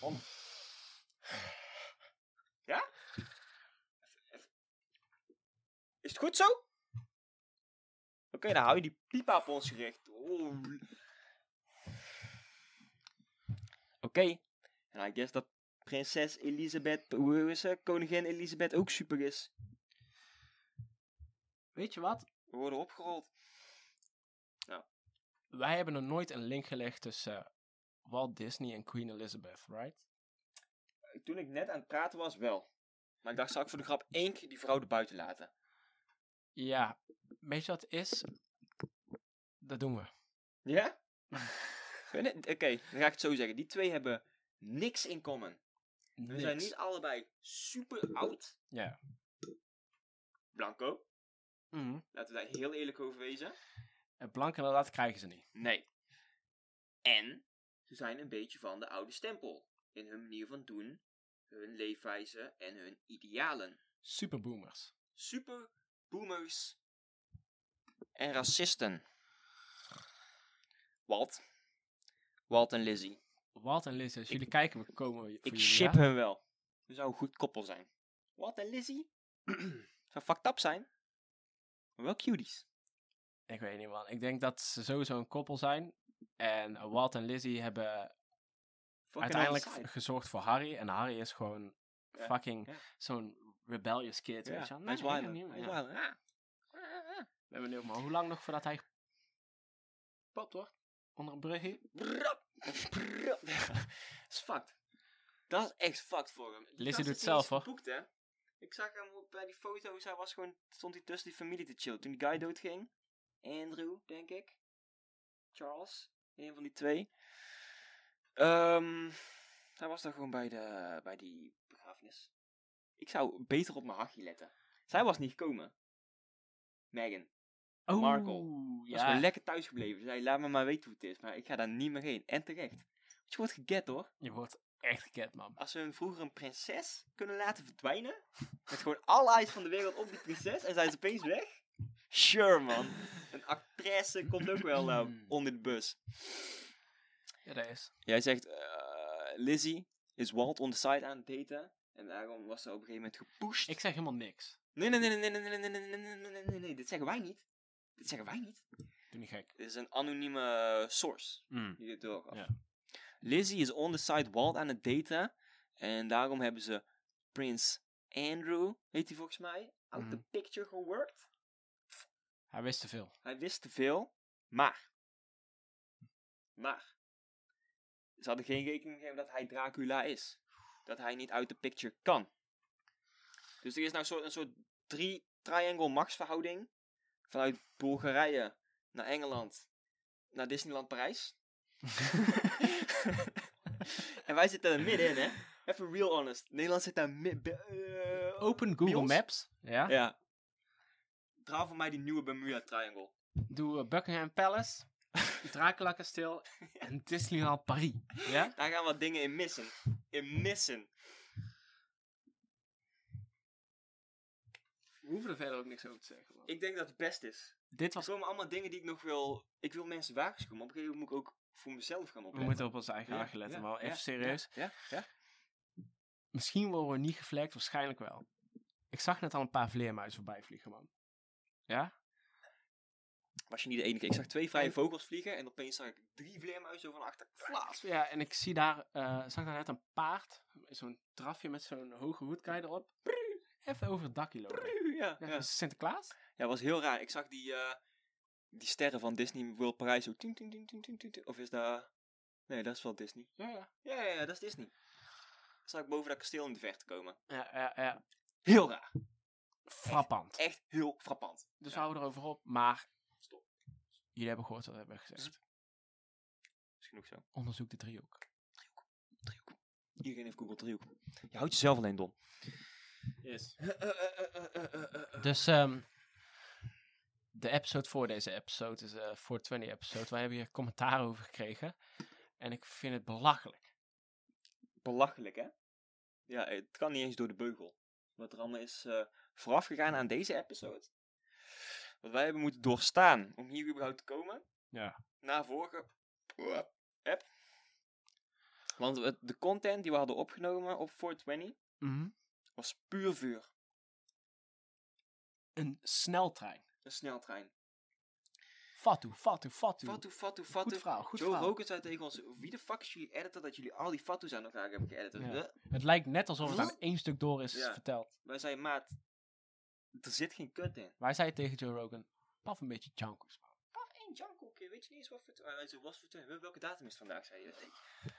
Speaker 1: Man. Ja? Is het goed zo? Oké, dan hou je die pipa op ons gericht. Oh. Oké, en I guess dat prinses Elisabeth, hoe is ze? Koningin Elisabeth ook super is.
Speaker 2: Weet je wat?
Speaker 1: We worden opgerold.
Speaker 2: Wij hebben nog nooit een link gelegd tussen eh, Walt Disney en Queen Elizabeth, right?
Speaker 1: Toen ik net aan het praten was, wel. Maar ik dacht, zou ik voor de grap één keer die vrouw er buiten laten?
Speaker 2: Ja. Weet je wat het is? Dat doen we.
Speaker 1: Ja? Vind je- Oké, dan ga ik het zo zeggen. Die twee hebben niks in common. We zijn
Speaker 2: Niks.
Speaker 1: niet allebei super oud.
Speaker 2: Ja.
Speaker 1: Blanco,
Speaker 2: Mhm.
Speaker 1: laten we daar heel eerlijk over wezen.
Speaker 2: En blank inderdaad krijgen ze niet.
Speaker 1: Nee. En ze zijn een beetje van de oude stempel. In hun manier van doen, hun leefwijze en hun idealen.
Speaker 2: Superboomers.
Speaker 1: Super boomers en racisten. Walt. Walt en Lizzie.
Speaker 2: Walt en Liz, als jullie kijken, we komen voor
Speaker 1: Ik
Speaker 2: jullie,
Speaker 1: ship
Speaker 2: ja?
Speaker 1: hun wel. We zou een goed koppel zijn. Walt en Lizzie zou fucked up zijn. Maar wel cuties.
Speaker 2: Ik weet niet, man. Ik denk dat ze sowieso een koppel zijn. En eh, Walt en Lizzie hebben
Speaker 1: Fucking
Speaker 2: uiteindelijk
Speaker 1: saai.
Speaker 2: gezorgd voor Harry. En Harry is gewoon
Speaker 1: Ja,
Speaker 2: fucking
Speaker 1: ja.
Speaker 2: zo'n rebellious kid.
Speaker 1: Ja,
Speaker 2: Weet je? wel.
Speaker 1: hij is
Speaker 2: Nee,
Speaker 1: wilder.
Speaker 2: helemaal
Speaker 1: Hij
Speaker 2: niet,
Speaker 1: is
Speaker 2: ja.
Speaker 1: wilder. Ja. Ah, ah, ah.
Speaker 2: Ik ben benieuwd, maar hoe lang nog voordat hij gepapt wordt? Onder een brugje?
Speaker 1: Brap, brap. Dat is fucked. Dat is echt fucked voor hem. Die
Speaker 2: Lizzie
Speaker 1: gast
Speaker 2: doet
Speaker 1: heeft
Speaker 2: het zelf,
Speaker 1: niet eens
Speaker 2: hoor.
Speaker 1: geboekt, hè? Ik zag hem op- bij die foto's, hij was gewoon, stond hij tussen die familie te chillen. Toen die guy doodging, Andrew, denk ik. Charles, een van die twee. Ehm, hij was daar gewoon bij, de, bij die begrafenis. Ik zou beter op mijn hachje letten. Zij was niet gekomen. Megan.
Speaker 2: Oh,
Speaker 1: Markle. Ja. Was
Speaker 2: Ja.
Speaker 1: gewoon lekker thuis gebleven. Ze zei, laat me maar weten hoe het is. Maar ik ga daar niet meer heen. En terecht. Want je wordt geget hoor.
Speaker 2: Je wordt echt geket, man.
Speaker 1: Als we een, vroeger een prinses kunnen laten verdwijnen. Met gewoon alle eyes van de wereld op die prinses. En zijn ze opeens weg. Sure man. Een een actrice komt ook wel eh, onder de bus.
Speaker 2: Ja, dat is.
Speaker 1: Jij zegt, eh, Lizzie is Walt on the side aan het daten. En daarom was ze op een gegeven moment gepusht.
Speaker 2: Ik zeg helemaal niks.
Speaker 1: Nee, nee, nee, nee, nee, nee, nee, nee, nee, nee, nee, nee, nee, nee, dit zeggen wij niet. Dit zeggen wij niet.
Speaker 2: Doe niet gek.
Speaker 1: Dit is een anonieme eh, source
Speaker 2: Mm.
Speaker 1: die dit doorgaf.
Speaker 2: Ja.
Speaker 1: Lizzie is on the side Walt aan het daten. En daarom hebben ze Prins Andrew, heet hij volgens mij, out the
Speaker 2: Mhm.
Speaker 1: picture geworkt.
Speaker 2: Hij wist te veel.
Speaker 1: Hij wist te veel, maar. Maar. Ze hadden geen rekening gegeven dat hij Dracula is. Dat hij niet uit de picture kan. Dus er is nou een soort, een soort drie triangle max verhouding. Vanuit Bulgarije naar Engeland naar Disneyland Parijs. en wij zitten er middenin, hè? Even real honest. Nederland zit daar mid. eh,
Speaker 2: Open Google
Speaker 1: ons?
Speaker 2: Maps. Ja.
Speaker 1: Ja. Draal voor mij die nieuwe Bermuda Triangle.
Speaker 2: Doe eh, Buckingham Palace, Dracula Kasteel en Disneyland Paris. Ja?
Speaker 1: Daar gaan wat dingen in missen. In missen.
Speaker 2: We hoeven er verder ook niks over te zeggen.
Speaker 1: Ik denk dat het best is.
Speaker 2: Dit
Speaker 1: Er
Speaker 2: was...
Speaker 1: komen allemaal dingen die ik nog wil... Ik wil mensen waarschuwen, maar op een gegeven moment moet ik ook voor mezelf gaan
Speaker 2: We
Speaker 1: opletten.
Speaker 2: moeten op onze eigen
Speaker 1: Ja,
Speaker 2: hagen letten,
Speaker 1: ja,
Speaker 2: maar even
Speaker 1: ja,
Speaker 2: serieus.
Speaker 1: Ja, ja.
Speaker 2: Misschien worden we niet geflekt, waarschijnlijk wel. Ik zag net al een paar vleermuizen voorbij vliegen, man. Ja?
Speaker 1: Was je niet de enige. Ik zag twee vrije vogels vliegen en opeens zag ik drie vleermuizen van achter. Vlaas.
Speaker 2: Ja, en ik zie daar, eh, zag daar net een paard. Zo'n drafje met zo'n hoge hoed, kan je erop. Prrr, Even over het dakje lopen.
Speaker 1: Ja, ja.
Speaker 2: Ja, is het Sinterklaas?
Speaker 1: Ja, was heel raar. Ik zag die, eh, die sterren van Disney World Parijs ook. ting, ting, ting, ting, ting, ting, ting. Of is dat... Nee, dat is wel Disney.
Speaker 2: Ja, ja.
Speaker 1: Ja, ja, ja, dat is Disney. Zag ik boven dat kasteel in de verte komen.
Speaker 2: Ja, ja, ja.
Speaker 1: Heel raar.
Speaker 2: Eh, Frappant.
Speaker 1: Echt heel frappant.
Speaker 2: Dus
Speaker 1: Ja.
Speaker 2: we houden erover op, maar...
Speaker 1: Stop.
Speaker 2: Jullie hebben gehoord wat we hebben gezegd.
Speaker 1: Is genoeg zo.
Speaker 2: Onderzoek de driehoek.
Speaker 1: Driehoek. Iedereen heeft Google driehoek. Je houdt jezelf alleen dom.
Speaker 2: Yes. eh,
Speaker 1: De
Speaker 2: Dus ehm, de episode voor deze episode is eh 420 episode. Wij hebben hier commentaar over gekregen. En ik vind het belachelijk.
Speaker 1: belachelijk, hè? Ja, eh, het kan niet eens door de beugel. Wat er allemaal is eh vooraf gegaan aan deze episode. Wat wij hebben moeten doorstaan om hier überhaupt te komen.
Speaker 2: Ja.
Speaker 1: Na vorige app. Want het- de content die we hadden opgenomen op 420 was puur vuur.
Speaker 2: Een sneltrein.
Speaker 1: Een sneltrein.
Speaker 2: Fatu, fatu, fatu.
Speaker 1: Fatu, fatu,
Speaker 2: Goed
Speaker 1: fatu.
Speaker 2: verhaal, goed
Speaker 1: Joe
Speaker 2: verhaal.
Speaker 1: Rogan zei tegen ons, wie de fuck is jullie editor dat jullie al die fatu's aan elkaar hebben geëdit?
Speaker 2: Ja.
Speaker 1: Huh?
Speaker 2: Het lijkt net alsof het aan één stuk door is
Speaker 1: Ja.
Speaker 2: verteld.
Speaker 1: Wij zeiden, maat, er zit geen kut in.
Speaker 2: Wij zeiden tegen Joe Rogan, paf een beetje junkies. man."
Speaker 1: Paf één jankhoek, weet je niet eens wat voor... Ah, nee, zo was voor twee. Welke datum is het vandaag, zei je?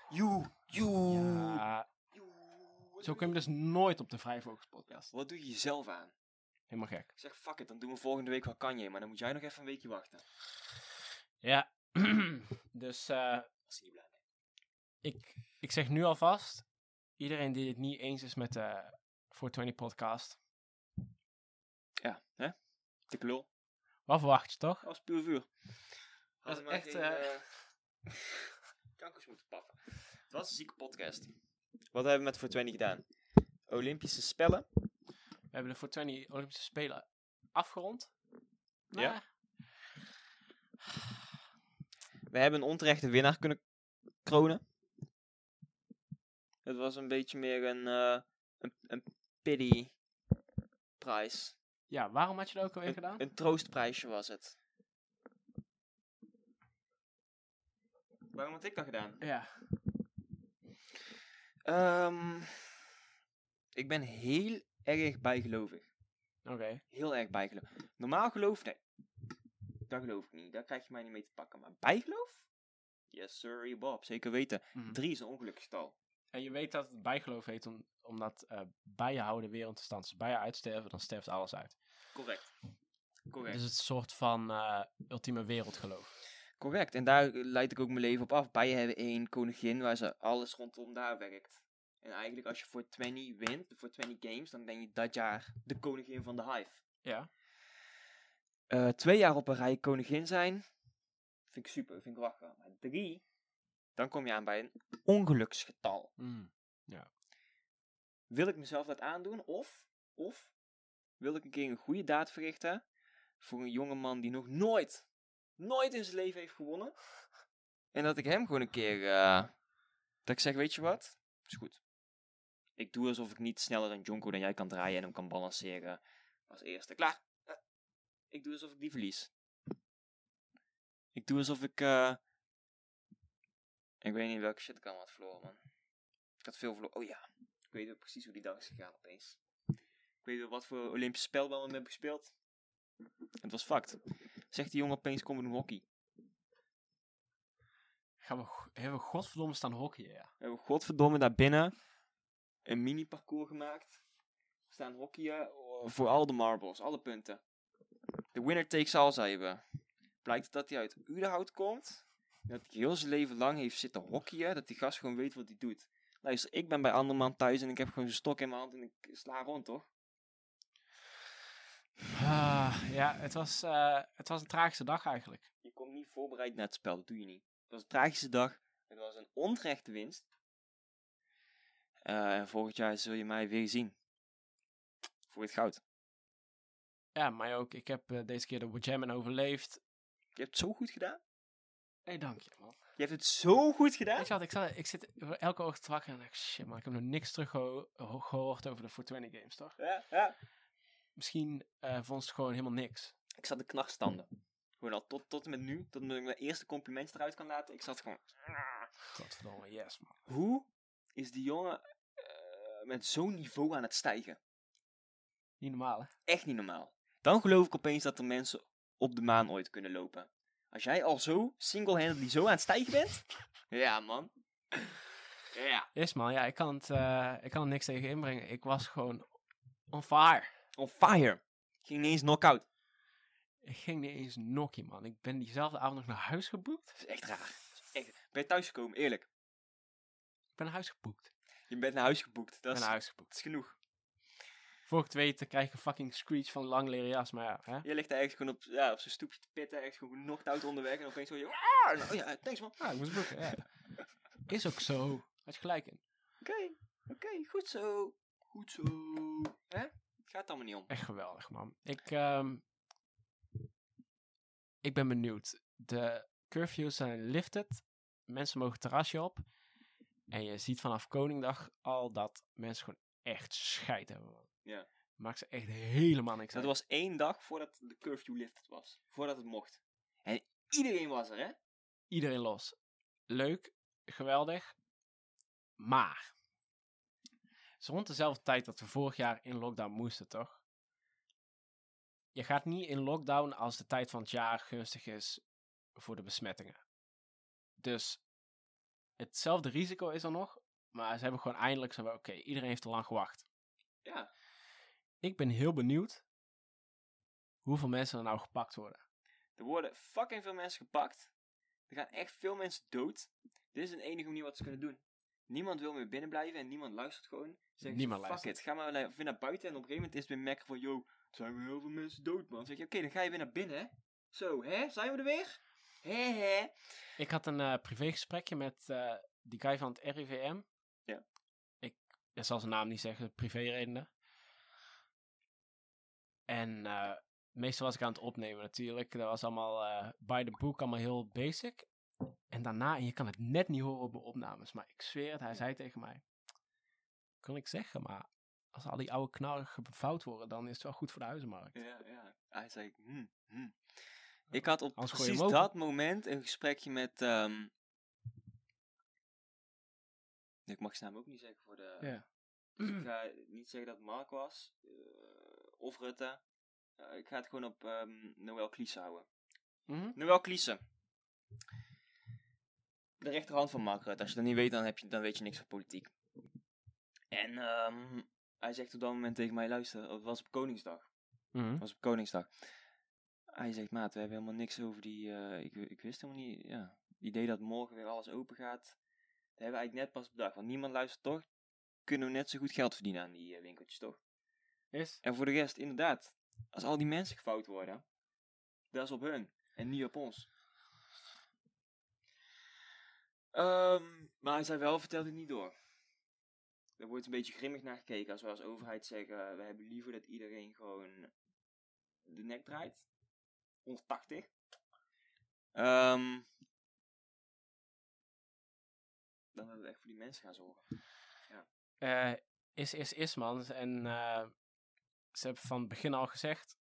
Speaker 1: Joe, Oh. joe,
Speaker 2: Ja,
Speaker 1: joe.
Speaker 2: zo kun je dus nooit op de Vrijvogels podcast.
Speaker 1: Wat doe je jezelf aan?
Speaker 2: Helemaal gek.
Speaker 1: Ik zeg, fuck it, dan doen we volgende week wel Kanye, maar dan moet jij nog even een weekje wachten.
Speaker 2: Ja, dus eh,
Speaker 1: Als hij niet blij bent.
Speaker 2: ik, ik zeg nu alvast, iedereen die het niet eens is met de 420 podcast,
Speaker 1: Ja, hè? Dikke lul.
Speaker 2: wat verwacht je toch?
Speaker 1: Dat was puur vuur.
Speaker 2: Dat
Speaker 1: Hadden
Speaker 2: is
Speaker 1: maar
Speaker 2: echt,
Speaker 1: geen,
Speaker 2: eh,
Speaker 1: eh, Kankers moeten paffen. Het was een zieke podcast. Wat hebben we met 420 gedaan? Olympische spellen.
Speaker 2: We hebben de 420 Olympische Spelen afgerond. Maar
Speaker 1: Ja. We hebben een onterechte winnaar kunnen kronen. Het was een beetje meer een, eh een, een pity prijs.
Speaker 2: Ja, waarom had je dat ook alweer gedaan?
Speaker 1: Een, een troostprijsje was het. Waarom had ik dat gedaan?
Speaker 2: ja.
Speaker 1: Ehm, ik ben heel erg bijgelovig.
Speaker 2: Oké.
Speaker 1: Heel erg bijgeloof. Normaal geloof, nee. Dat geloof ik niet. Daar krijg je mij niet mee te pakken. Maar bijgeloof? Yes, sir, Bob. Zeker weten.
Speaker 2: Mhm.
Speaker 1: Drie is een ongeluksgetal.
Speaker 2: En je weet dat het bijgeloof heet om, omdat eh bijen houden weer in te stand. dus Als bijen uitsterven, dan sterft alles uit.
Speaker 1: Correct. Correct.
Speaker 2: Dus het is een soort van eh, ultieme wereldgeloof.
Speaker 1: Correct. En daar leid ik ook mijn leven op af. Bijen hebben één koningin waar ze alles rondom daar werkt. En eigenlijk als je voor 20 wint, voor 20 games, dan ben je dat jaar de koningin van de hive.
Speaker 2: Ja.
Speaker 1: Eh, twee jaar op een rij koningin zijn, vind ik super, vind ik lachen. Maar drie, dan kom je aan bij een ongeluksgetal.
Speaker 2: Mm.
Speaker 1: Wil ik mezelf dat aandoen? Of, of wil ik een keer een goede daad verrichten voor een jongeman die nog nooit nooit in zijn leven heeft gewonnen. En dat ik hem gewoon een keer... eh, dat ik zeg, weet je wat? Is goed. Ik doe alsof ik niet sneller dan Jonko dan jij kan draaien en hem kan balanceren als eerste. Klaar. Eh, Ik doe alsof ik die verlies. Ik doe alsof ik... eh, Ik weet niet welke shit ik allemaal had verloren, man. Ik had veel verloren. Oh ja. Ik weet wel precies hoe die dag is gegaan opeens. Ik weet wel wat voor Olympische spel we hebben gespeeld. Het was fucked. Zegt die jongen opeens, kom we doen hockey.
Speaker 2: Gaan we, go- hebben we godverdomme staan hockeyen, ja.
Speaker 1: We hebben godverdomme daar binnen een mini-parcours gemaakt. Er staan hockeyen eh, voor al de marbles, alle punten. De winner takes all, zei we. Blijkt dat hij uit Udenhout komt. en Dat hij heel zijn leven lang heeft zitten hockeyen. Dat die gast gewoon weet wat hij doet. Luister, ik ben bij Anderman thuis en ik heb gewoon zijn stok in mijn hand en ik sla rond, toch?
Speaker 2: Ah, ja, het was, eh, het was een tragische dag eigenlijk.
Speaker 1: Je komt niet voorbereid naar het spel, dat doe je niet. Het was een tragische dag. Het was een onterechte winst. Eh, en volgend jaar zul je mij weer zien. Voor het goud.
Speaker 2: Ja, maar ook, ik heb eh, deze keer de Wajammen overleefd.
Speaker 1: Je hebt het zo goed gedaan.
Speaker 2: Hé, hey, dank je, man.
Speaker 1: Je hebt het zo goed gedaan.
Speaker 2: Ik, zat, ik, zat, ik zit elke ochtend wakker en denk, shit man, ik heb nog niks terug gehoord over de 420 games, toch?
Speaker 1: Ja, ja.
Speaker 2: Misschien eh vond ze het gewoon helemaal niks.
Speaker 1: Ik zat de knarstanden. Gewoon al tot, tot en met nu, tot ik mijn eerste complimentje eruit kan laten. Ik zat gewoon...
Speaker 2: Godverdomme, yes man.
Speaker 1: Hoe is die jongen eh, met zo'n niveau aan het stijgen?
Speaker 2: Niet normaal, hè?
Speaker 1: Echt niet normaal. Dan geloof ik opeens dat er mensen op de maan ooit kunnen lopen. Als jij al zo single-handedly zo aan het stijgen bent... ja, man. Ja.
Speaker 2: Yes man, ja, ik kan, het, eh, ik kan er niks tegen inbrengen. Ik was gewoon on fire.
Speaker 1: On fire. Ging niet eens knock-out.
Speaker 2: Ik ging niet eens nokkie, man. Ik ben diezelfde avond nog naar huis geboekt.
Speaker 1: Dat is echt raar. Dat is echt... Ben je thuisgekomen, eerlijk?
Speaker 2: Ik ben naar huis geboekt. Ik
Speaker 1: Je bent naar huis geboekt.
Speaker 2: ben
Speaker 1: Dat is,
Speaker 2: naar
Speaker 1: dat
Speaker 2: huis geboekt.
Speaker 1: is genoeg.
Speaker 2: Voor ik het weet, dan krijg ik een fucking screech van lang leren jas, maar ja, hè?
Speaker 1: Je ligt ergens gewoon op, ja, op zijn stoepje te pitten, ergens gewoon knocked out onderweg en opeens hoor je... "Aar!" Nou ja, thanks man.
Speaker 2: Ja, Ah, ik moest boeken, ja. Is ook zo. Had je gelijk in.
Speaker 1: Oké, oké, goed zo. Goed zo. Hè? Het gaat allemaal niet om.
Speaker 2: Echt geweldig, man. Ik, ehm, ik ben benieuwd. De curfews zijn lifted. Mensen mogen het terrasje op. En je ziet vanaf Koningdag al dat mensen gewoon echt scheid hebben. Man.
Speaker 1: Ja.
Speaker 2: Maakt ze echt helemaal niks
Speaker 1: Dat
Speaker 2: uit.
Speaker 1: was één dag voordat de curfew lifted was. Voordat het mocht. En iedereen was er, hè?
Speaker 2: Iedereen los. Leuk, geweldig. Maar. Het is rond dezelfde tijd dat we vorig jaar in lockdown moesten, toch? Je gaat niet in lockdown als de tijd van het jaar gunstig is voor de besmettingen. Dus hetzelfde risico is er nog, maar ze hebben gewoon eindelijk zo van, oké, iedereen heeft te lang gewacht.
Speaker 1: Ja.
Speaker 2: Ik ben heel benieuwd hoeveel mensen er nou gepakt worden.
Speaker 1: Er worden fucking veel mensen gepakt. Er gaan echt veel mensen dood. Dit is de enige manier wat ze kunnen doen. Niemand wil meer binnen blijven en niemand luistert gewoon. Ze Zeggen
Speaker 2: Niemand
Speaker 1: ze, fuck
Speaker 2: luistert.
Speaker 1: it, ga maar naar, weer naar buiten. En op een gegeven moment is het weer mekker van, yo, er zijn weer heel veel mensen dood, man. Dan zeg je, oké, dan ga je weer naar binnen, hè. Zo, hè, zijn we er weer? Hè, hè.
Speaker 2: Ik had een eh, privégesprekje met eh, die guy van het RIVM.
Speaker 1: Ja.
Speaker 2: Ik, ik zal zijn naam niet zeggen, privéredenen. En eh meestal was ik aan het opnemen natuurlijk. Dat was allemaal eh by the book, allemaal heel basic. En daarna, en je kan het net niet horen op de opnames, maar ik zweer het, hij zei tegen mij... Kan ik zeggen, maar als al die oude knarren gevouwd worden, dan is het wel goed voor de huizenmarkt.
Speaker 1: Ja, ja. Hij zei, hmm, hmm. Ik had op
Speaker 2: Anders gooi je
Speaker 1: precies
Speaker 2: hem open.
Speaker 1: dat moment een gesprekje met... ehm, Ik mag zijn naam ook niet zeggen voor de...
Speaker 2: Ja.
Speaker 1: Ik
Speaker 2: Mhm.
Speaker 1: ga niet zeggen dat het Mark was. eh, of Rutte. Eh, ik ga het gewoon op ehm Noël Kliese houden.
Speaker 2: Mhm.
Speaker 1: Noël Kliese. De rechterhand van Mark Rutte. Als je dat niet weet, dan, heb je, dan weet je niks van politiek. En ehm, hij zegt op dat moment tegen mij, luister, het was op Koningsdag.
Speaker 2: Mhm.
Speaker 1: Het was op Koningsdag. Hij zegt, maat, we hebben helemaal niks over die... eh, ik, ik wist helemaal niet... Ja, het idee dat morgen weer alles open gaat... Dat hebben we eigenlijk net pas bedacht. Want niemand luistert toch? Kunnen we net zo goed geld verdienen aan die eh, winkeltjes, toch?
Speaker 2: Is?
Speaker 1: En voor de rest, inderdaad. Als al die mensen gefout worden... Dat is op hun. En niet op ons. Ehm, maar hij zei wel, vertel dit niet door. Er wordt een beetje grimmig naar gekeken als we als overheid zeggen... We hebben liever dat iedereen gewoon de nek draait. 180. Ehm, dan hebben we echt voor die mensen gaan zorgen.
Speaker 2: eh, is, is, is, man. En eh, ze hebben van het begin al gezegd,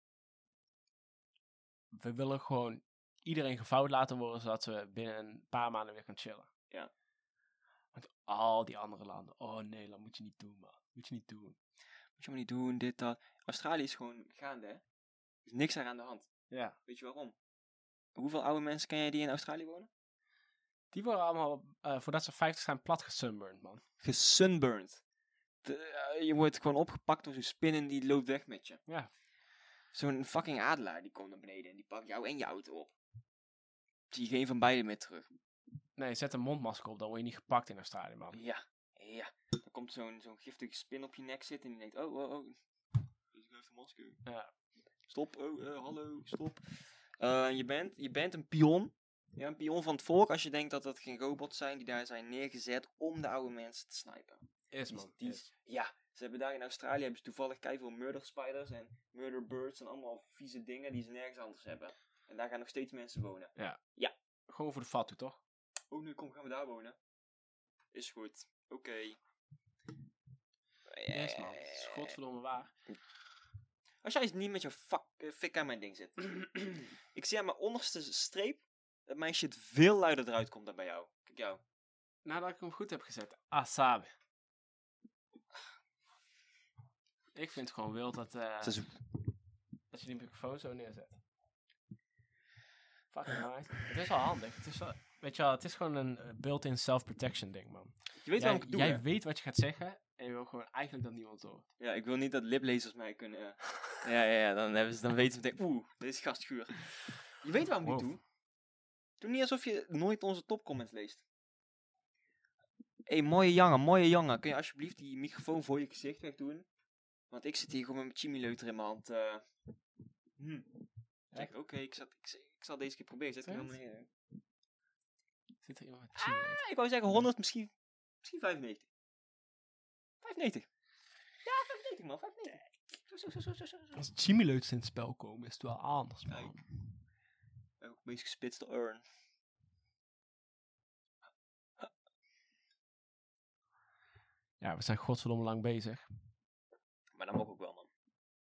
Speaker 2: we willen gewoon iedereen gevouwd laten worden, zodat we binnen een paar maanden weer gaan chillen.
Speaker 1: Ja.
Speaker 2: Want al die andere landen, oh nee, dat moet je niet doen, man. Moet je niet doen.
Speaker 1: Moet je maar niet doen, dit, dat. Australië is gewoon gaande, hè? Er is niks daar aan de hand.
Speaker 2: Ja.
Speaker 1: Weet je waarom? Hoeveel oude mensen ken jij die in Australië wonen?
Speaker 2: Die worden allemaal, eh, voordat ze 50 zijn, plat gesunburned, man.
Speaker 1: Gesunburned. De- eh, je wordt gewoon opgepakt door zo'n spin en die loopt weg met je.
Speaker 2: Ja.
Speaker 1: Zo'n fucking adelaar die komt naar beneden en die pakt jou en je auto op. Zie je geen van beiden meer terug.
Speaker 2: Nee, zet een mondmasker op, dan word je niet gepakt in Australië, man.
Speaker 1: Ja, ja. Dan komt zo'n zo'n giftige spin op je nek zitten en die denkt, oh, oh, oh. Dus ik heb een masker.
Speaker 2: Ja.
Speaker 1: Stop, oh, eh, hallo, stop. Eh, je, bent, je bent een pion. Ja, een pion van het volk als je denkt dat dat geen robots zijn die daar zijn neergezet om de oude mensen te snipen.
Speaker 2: Is,
Speaker 1: Dus
Speaker 2: man.
Speaker 1: die-
Speaker 2: is.
Speaker 1: Ja, ze hebben daar in Australië hebben ze toevallig keiveel murder spiders en murder birds en allemaal vieze dingen die ze nergens anders hebben. En daar gaan nog steeds mensen wonen.
Speaker 2: Gewoon voor de fatu, toch?
Speaker 1: Oh, nu kom, gaan we daar wonen. Is goed. Oké.
Speaker 2: Yes, man. Het
Speaker 1: Eh.
Speaker 2: is godverdomme waar.
Speaker 1: Als jij eens niet met je fuck, eh, fik aan mijn ding zit. ik zie aan mijn onderste streep dat mijn shit veel luider eruit komt dan bij jou. Kijk jou.
Speaker 2: Nadat ik hem goed heb gezet. Asabi. Ik vind het gewoon wild dat, eh, dat je die microfoon zo neerzet. Fucking nice. Het is wel handig. Het is wel, weet je wel, het is gewoon een eh, built-in self-protection ding, man.
Speaker 1: Je weet
Speaker 2: jij
Speaker 1: waarom ik het doe,
Speaker 2: jij
Speaker 1: hè?
Speaker 2: weet wat je gaat zeggen en je wil gewoon eigenlijk dat niemand het hoort.
Speaker 1: Ja, ik wil niet dat liplezers mij kunnen... eh, ja, ja, ja, dan, hebben ze, dan weten ze meteen... Oeh, deze gast schuur. Je weet waarom ik dit
Speaker 2: Wow.
Speaker 1: doe. Doe niet alsof je nooit onze topcomments leest. Hé, hey, mooie jongen, mooie jongen. Kun je alsjeblieft die microfoon voor je gezicht wegdoen? Want ik zit hier gewoon met mijn chimileuter in mijn hand. eh. Hm. Ik zeg, Oké, ik, zal- ik, zal- ik zal deze keer proberen. Zet hem
Speaker 2: Echt?
Speaker 1: helemaal neer.
Speaker 2: Zit er iemand met chili?
Speaker 1: Ja, ik wou zeggen 100, misschien, misschien 95. 95. Ja, 95 man, 95. Zo, zo, zo, zo, zo, zo. zo.
Speaker 2: Als chimileuts in het spel komen, is het wel anders, man.
Speaker 1: Kijk. Ook meest gespitste urn.
Speaker 2: Ja, we zijn godverdomme lang bezig.
Speaker 1: Maar dat mag ook wel, man.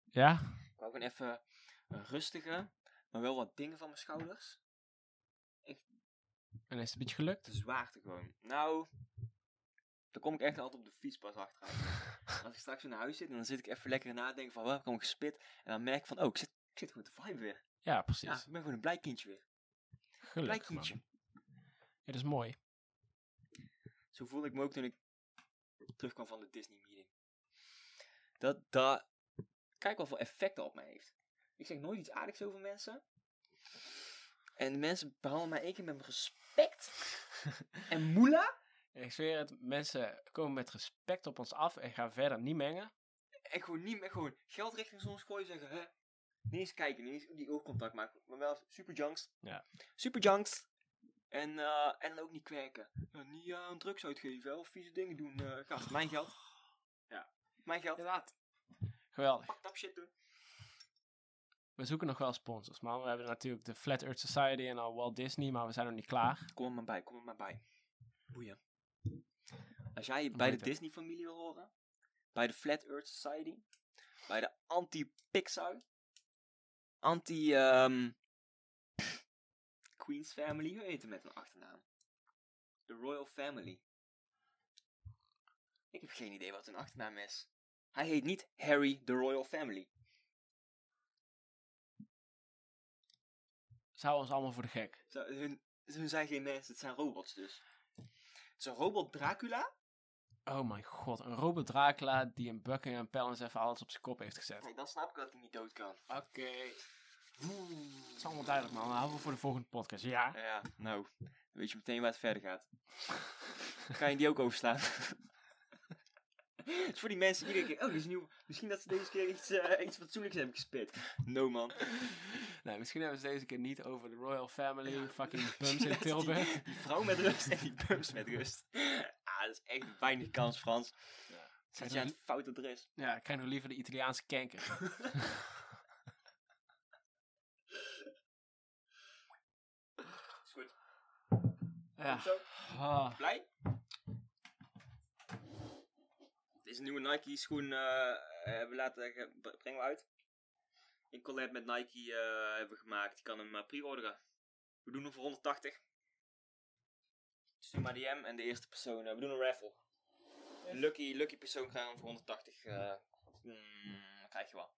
Speaker 2: Ja?
Speaker 1: Ik wou gewoon even een rustige, maar wel wat dingen van mijn schouders.
Speaker 2: En is het een beetje gelukt?
Speaker 1: De zwaarte gewoon. Nou, dan kom ik echt altijd op de fiets pas achteraan. Als ik straks weer naar huis zit, dan zit ik even lekker nadenken van waar heb ik allemaal gespit. En dan merk ik van, oh, ik zit, ik zit goed te vibe weer.
Speaker 2: Ja, precies.
Speaker 1: Ja, ik ben gewoon een blij kindje weer. Blij
Speaker 2: gelukkig, man.
Speaker 1: kindje.
Speaker 2: Ja, dat is mooi.
Speaker 1: Zo voelde ik me ook toen ik terugkwam van de Disney meeting. Dat, dat, kijk wat voor effect dat op mij heeft. Ik zeg nooit iets aardigs over mensen. En de mensen behandelen mij één keer met respect. en moela.
Speaker 2: Ik zweer het, mensen komen met respect op ons af en gaan verder niet mengen.
Speaker 1: En gewoon niet meer gewoon geld richting soms gooien zeggen, hè. Niet eens kijken, niet eens die oogcontact maken. Maar wel super junks.
Speaker 2: Ja.
Speaker 1: Super junks. En, eh, en dan ook niet kwerken. Ja, niet eh, aan drugs uitgeven, hè, of vieze dingen doen. eh gast, mijn geld. Ja. Mijn geld.
Speaker 2: Inderdaad. Geweldig.
Speaker 1: Tap shit doen.
Speaker 2: We zoeken nog wel sponsors, man. We hebben natuurlijk de Flat Earth Society en al Walt Disney, maar we zijn nog niet klaar.
Speaker 1: Kom er maar bij, kom er maar bij. Boeien. Als jij bij
Speaker 2: weet
Speaker 1: de
Speaker 2: ik.
Speaker 1: Disney-familie wil horen, bij de Flat Earth Society, bij de anti-Pixar, anti- ehm, Queen's Family, hoe heet het met een achternaam? De Royal Family. Ik heb geen idee wat hun achternaam is. Hij heet niet Harry de Royal Family.
Speaker 2: Zou ons allemaal voor de gek.
Speaker 1: Zo, hun, hun zijn geen mensen, het zijn robots dus. Het is een robot Dracula
Speaker 2: Oh mijn god, een Robert Dracula die in Buckingham Palace even alles op zijn kop heeft gezet.
Speaker 1: Kijk, dan snap ik dat hij niet dood kan.
Speaker 2: Oké. Het is allemaal duidelijk, man. Dan houden we voor de volgende podcast. Ja.
Speaker 1: Ja, nou. Dan weet je meteen waar het verder gaat. Kan je die ook overslaan? Het is voor die mensen iedere keer, oh, dit is nieuw. Misschien dat ze deze keer iets, eh, iets fatsoenlijks hebben gespit. No, man.
Speaker 2: nee, misschien hebben ze deze keer niet over de Royal Family, fucking
Speaker 1: Misschien
Speaker 2: Bums in
Speaker 1: laten die-
Speaker 2: Tilburg.
Speaker 1: Die, vrouw met rust en die bums met rust. Ah, dat is echt weinig kans, Frans. Zet je aan het fout adres.
Speaker 2: Ja, ik krijg nog liever de Italiaanse kanker. Ja.
Speaker 1: Goed zo.
Speaker 2: Ah.
Speaker 1: Blij? Deze nieuwe Nike schoen eh, hebben we laten, eh, b- brengen we uit. In collab met Nike eh, hebben we gemaakt. Je kan hem eh, pre-orderen. We doen hem voor 180. Stuur maar DM en de eerste persoon. eh, we doen een raffle. Lucky, lucky persoon krijgt hem voor 180. eh, mm, krijg je wel.